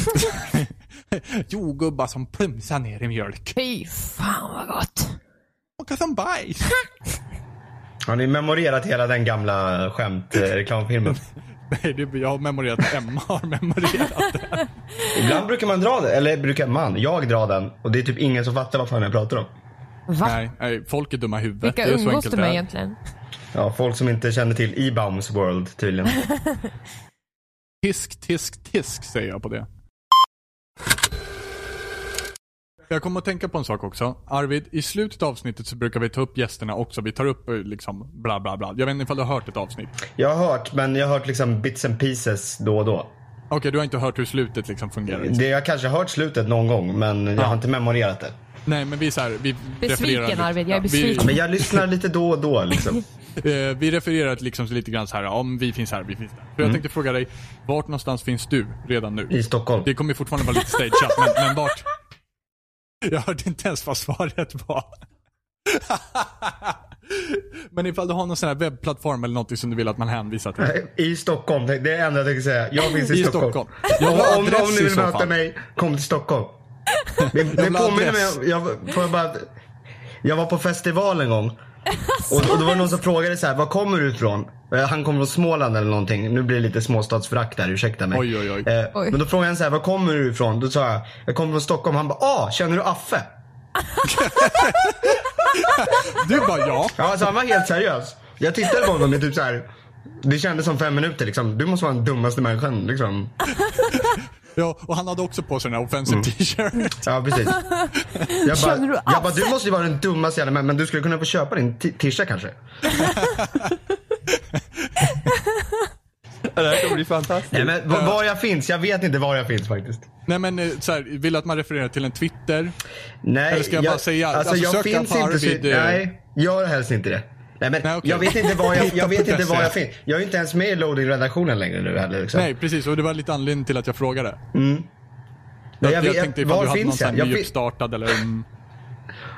jordgubbar som plumsar ner i mjölk.
Fy fan vad gott.
Smakar som bajs.
Har ni memorerat hela den gamla skämt-reklamfilmen?
Nej, det, jag har memorerat. Emma har memorerat det.
Ibland brukar man dra den, eller brukar man, jag drar den och det är typ ingen som fattar vad fan jag pratar om.
Va?
Nej, nej, folk är dumma i huvudet.
Vilka
det är så
umgås
enkelt
du
det
med
är.
egentligen?
Ja, folk som inte känner till E-Bounds World tydligen.
Tisk, tisk, tisk säger jag på det. Jag kommer att tänka på en sak också. Arvid, i slutet av avsnittet så brukar vi ta upp gästerna också. Vi tar upp eh, liksom bla bla bla. Jag vet inte ifall du har hört ett avsnitt.
Jag har hört, men jag har hört liksom bits and pieces då och då.
Okej, du har inte hört hur slutet liksom fungerar.
Det jag kanske har hört slutet någon gång, men jag har inte memorerat det.
Nej, men vi så här, vi refererar...
Besviken, Arvid. Jag är
Ja, vi-
besviken.
Men jag lyssnar lite då och då liksom.
Eh, vi refererar till liksom så lite grann så här, om vi finns här, vi finns där. Så jag tänkte fråga dig, vart någonstans finns du redan nu?
I Stockholm.
Det kommer fortfarande vara lite stageat, men, men vart? Jag hörde inte ens vad svaret var. men ifall du har någon sån här webbplattform eller något som du vill att man hänvisar till.
I Stockholm, det är det enda jag tänker säga. Jag finns i,
I
Stockholm.
Stockholm. Jag har
om,
adress
om
i
ni vill
så
möta
fall.
mig, kom till Stockholm. Det, det
vill ha
påminner mig
adress.
om- jag, får jag, bara, jag var på festival en gång. Och, och då var det någon som frågade så här, var kommer du ifrån? Eh, Han kommer från Småland eller någonting. Nu blir det lite småstadsförakt där, ursäkta mig.
Oj, oj, oj.
Eh,
Oj.
Men då frågade han så här, var kommer du ifrån? Då sa jag, jag kommer från Stockholm. Han bara, ah, känner du Affe?
Du bara ja.
Ja, så han var helt seriös. Jag tittade på honom i typ så här. Det kändes som fem minuter liksom. Du måste vara den dummaste människan liksom.
ja. Och han hade också på sig den här offensive t-shirt.
Ja, precis. Jag bara,
Känner du
jag
alls?
bara du måste ju vara den dummaste jävla människan, men du skulle kunna få köpa din t- tisha kanske.
Det här kommer bli fantastiskt.
Nej, men var, var jag finns, jag vet inte var jag finns faktiskt.
Nej men eh, så här, vill att man refererar till en Twitter.
Nej,
Eller ska jag bara säga,
alltså,
alltså,
jag
söka
finns
på
inte.
Arvid,
så-
eh.
Nej, gör helst inte det. Nej, men
Nej, okej.
jag vet inte var jag,
Hitta
jag, vet
på
inte var jag
dessa.
finns. Jag är ju inte ens med i loading-redaktionen längre nu heller. Liksom.
Nej precis, och det var lite anledningen till att jag frågade.
Nej,
jag, jag
Mm. vet-
tänkte ifall
var
du hade någon
finns
sån här
jag? Jag fin-
nyuppstartad eller... mm,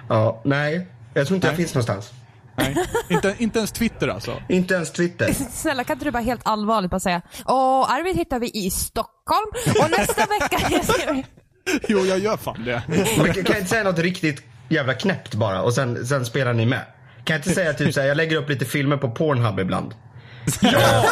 ja, nej, jag tror inte jag
Nej.
finns någonstans.
nej. inte, inte ens Twitter alltså.
Inte ens Twitter.
Snälla kan inte du bara helt allvarligt bara säga Åh, Arvid hittar vi i Stockholm och nästa vecka ska vi...
Jo, jag gör fan det.
Men kan kan jag inte säga något riktigt jävla knäppt bara och sen, sen spelar ni med? Kan jag inte säga typ såhär, jag lägger upp lite filmer på Pornhub ibland.
ja!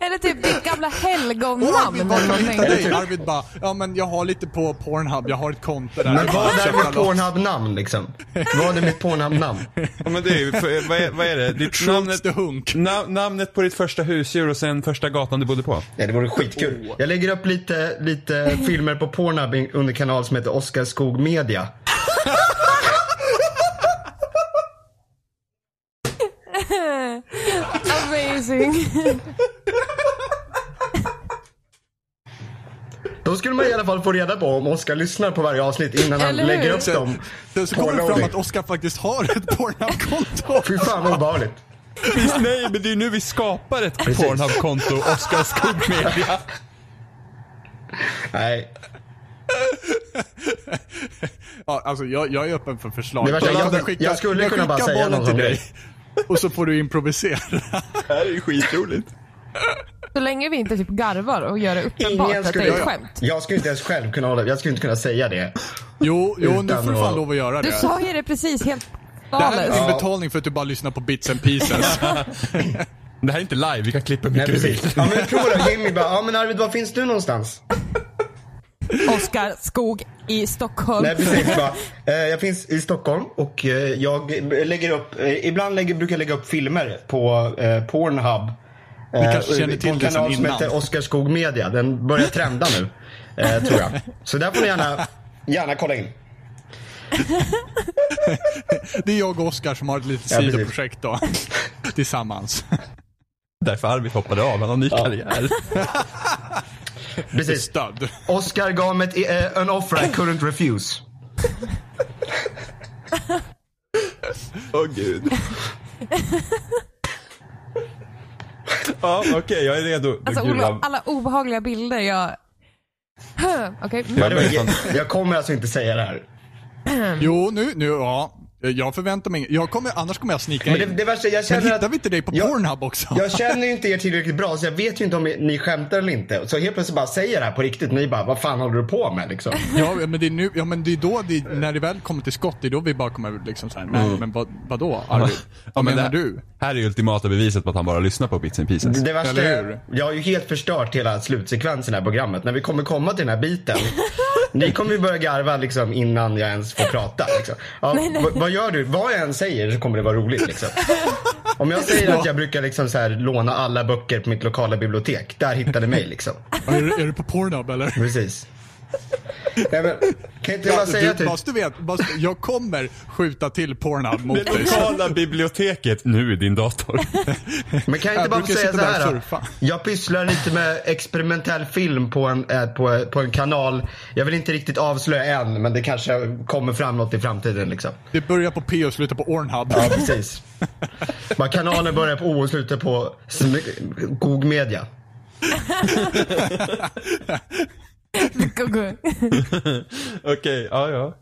Eller typ ditt gamla helgonnamn.
Arvid, vart
eller
kan vi
någonting.
hitta dig? Arvid bara, ja men jag har lite på Pornhub, jag har ett konto där.
Men
Jag
vad
kan
är
köpa
mitt
loss.
Pornhub-namn liksom? Vad är mitt Pornhub-namn?
Ja, men det är, ju- för, vad, är, vad är det? Ditt namnet,
the Hunk.
na, namnet på ditt första husdjur och sen första gatan du bodde på?
Nej, det vore skitkul. Jag lägger upp lite, lite filmer på Pornhub in- under kanal som heter Oskar Skog Media.
Amazing.
Då skulle man i alla fall få reda på om Oskar lyssnar på varje avsnitt innan han
Eller hur?
lägger upp
Sen-
dem.
Sen så kommer det fram
Pornhub.
att Oskar faktiskt har ett Pornhub-konto.
Fy fan vad obehagligt.
Visst, nej, men det är ju nu vi skapar ett Pornhub-konto, Oskar Skog Media.
Nej,
Ja, alltså jag, jag är öppen för förslag.
Det värsta, jag-
Bollen skickar-
jag skulle kunna bara
skickar
säga
bollen
någon
till
sån
dig.
grej.
Och så får du improvisera.
Det här är ju skitroligt.
Så länge vi inte typ garvar och gör det uppenbart
ingen
att det
skulle...
är ett
Jag,
skämt.
jag skulle inte ens själv kunna hålla, jag skulle inte kunna säga det.
Jo, jo nu
Utan
får du fan
att-
lov att göra det.
Du sa ju det precis helt
det här är
galet.
din betalning för att du bara lyssnar på bits and pieces.
Det här är inte live, vi kan klippa hur
Nej,
mycket vi vill.
precis. Ja, men prova då. Jimmy bara, ja men Arvid var finns du någonstans?
Oskar Skog i Stockholm.
Nej precis bara, eh, jag finns i Stockholm och eh, jag lägger upp, eh, ibland lägger, brukar jag lägga upp filmer på eh, Pornhub. Vi
kanske känner till
på en
det sen
kanal som
innan.
heter Oskar Skog Media. Den börjar trenda nu, eh, tror jag. Så där får ni gärna, gärna kolla in.
Det är jag och Oskar som har ett litet
Ja, precis.
sidoprojekt då. Tillsammans.
Därför Arvid hoppade av, han har ny karriär.
Precis.
Stöd.
Oscar gav mig ett, eh, an offer I couldn't refuse.
Åh gud. Ja, okej, jag är redo.
Alltså
Gud,
Ola,
vad-
alla obehagliga bilder jag... Okej.
By the way, Jag kommer alltså inte säga det här.
Jo, nu, nu, ja. Jag förväntar mig Jag kommer, annars kommer jag snika
Men
in.
det,
Men,
det värsta, jag känner
hittar
att...
vi inte dig på
jag-
Pornhub också?
Jag känner ju inte er tillräckligt bra så jag vet ju inte om ni skämtar eller inte. Så helt plötsligt bara säger jag det här på riktigt. Ni bara, vad fan håller du på med liksom?
Ja, men det är nu, ja men det är då, det, när det väl kommer till skott, det är då vi bara kommer liksom såhär, nej
Mm.
men vad, vadå Arvid? Vad
men
menar
det-
du?
Här är ju ultimata beviset på att han bara lyssnar på Bits and Pieces.
Det värsta
Eller
är,
hur?
jag har ju helt förstört hela slutsekvensen i det här programmet. När vi kommer komma till den här biten. ni kommer ju börja garva liksom innan jag ens får prata. Liksom. Ja, v- Vad gör du? Vad jag än säger så kommer det vara roligt liksom. Om jag säger att jag brukar liksom så här, låna alla böcker på mitt lokala bibliotek. Där hittar ni mig liksom.
Är, du- är du på Pornhub eller?
Precis. Nej, men, kan inte jag bara säga
Du,
typ...
Bas, du vet, Bas, jag kommer skjuta till Pornhub mot
Det
dig.
lokala biblioteket, nu i din dator.
Men kan jag inte
Jag
bara få
brukar
säga så
sitta där
här
och
då?
surfa.
Jag pysslar lite med experimentell film på en, eh, på, på en kanal. Jag vill inte riktigt avslöja än, men det kanske kommer fram något i framtiden liksom.
Det börjar på P och slutar på Ornhub.
Ja, precis. Bara kanalen börjar på O och slutar på sm- Gog Media.
Go, go.
Okej, ja ja.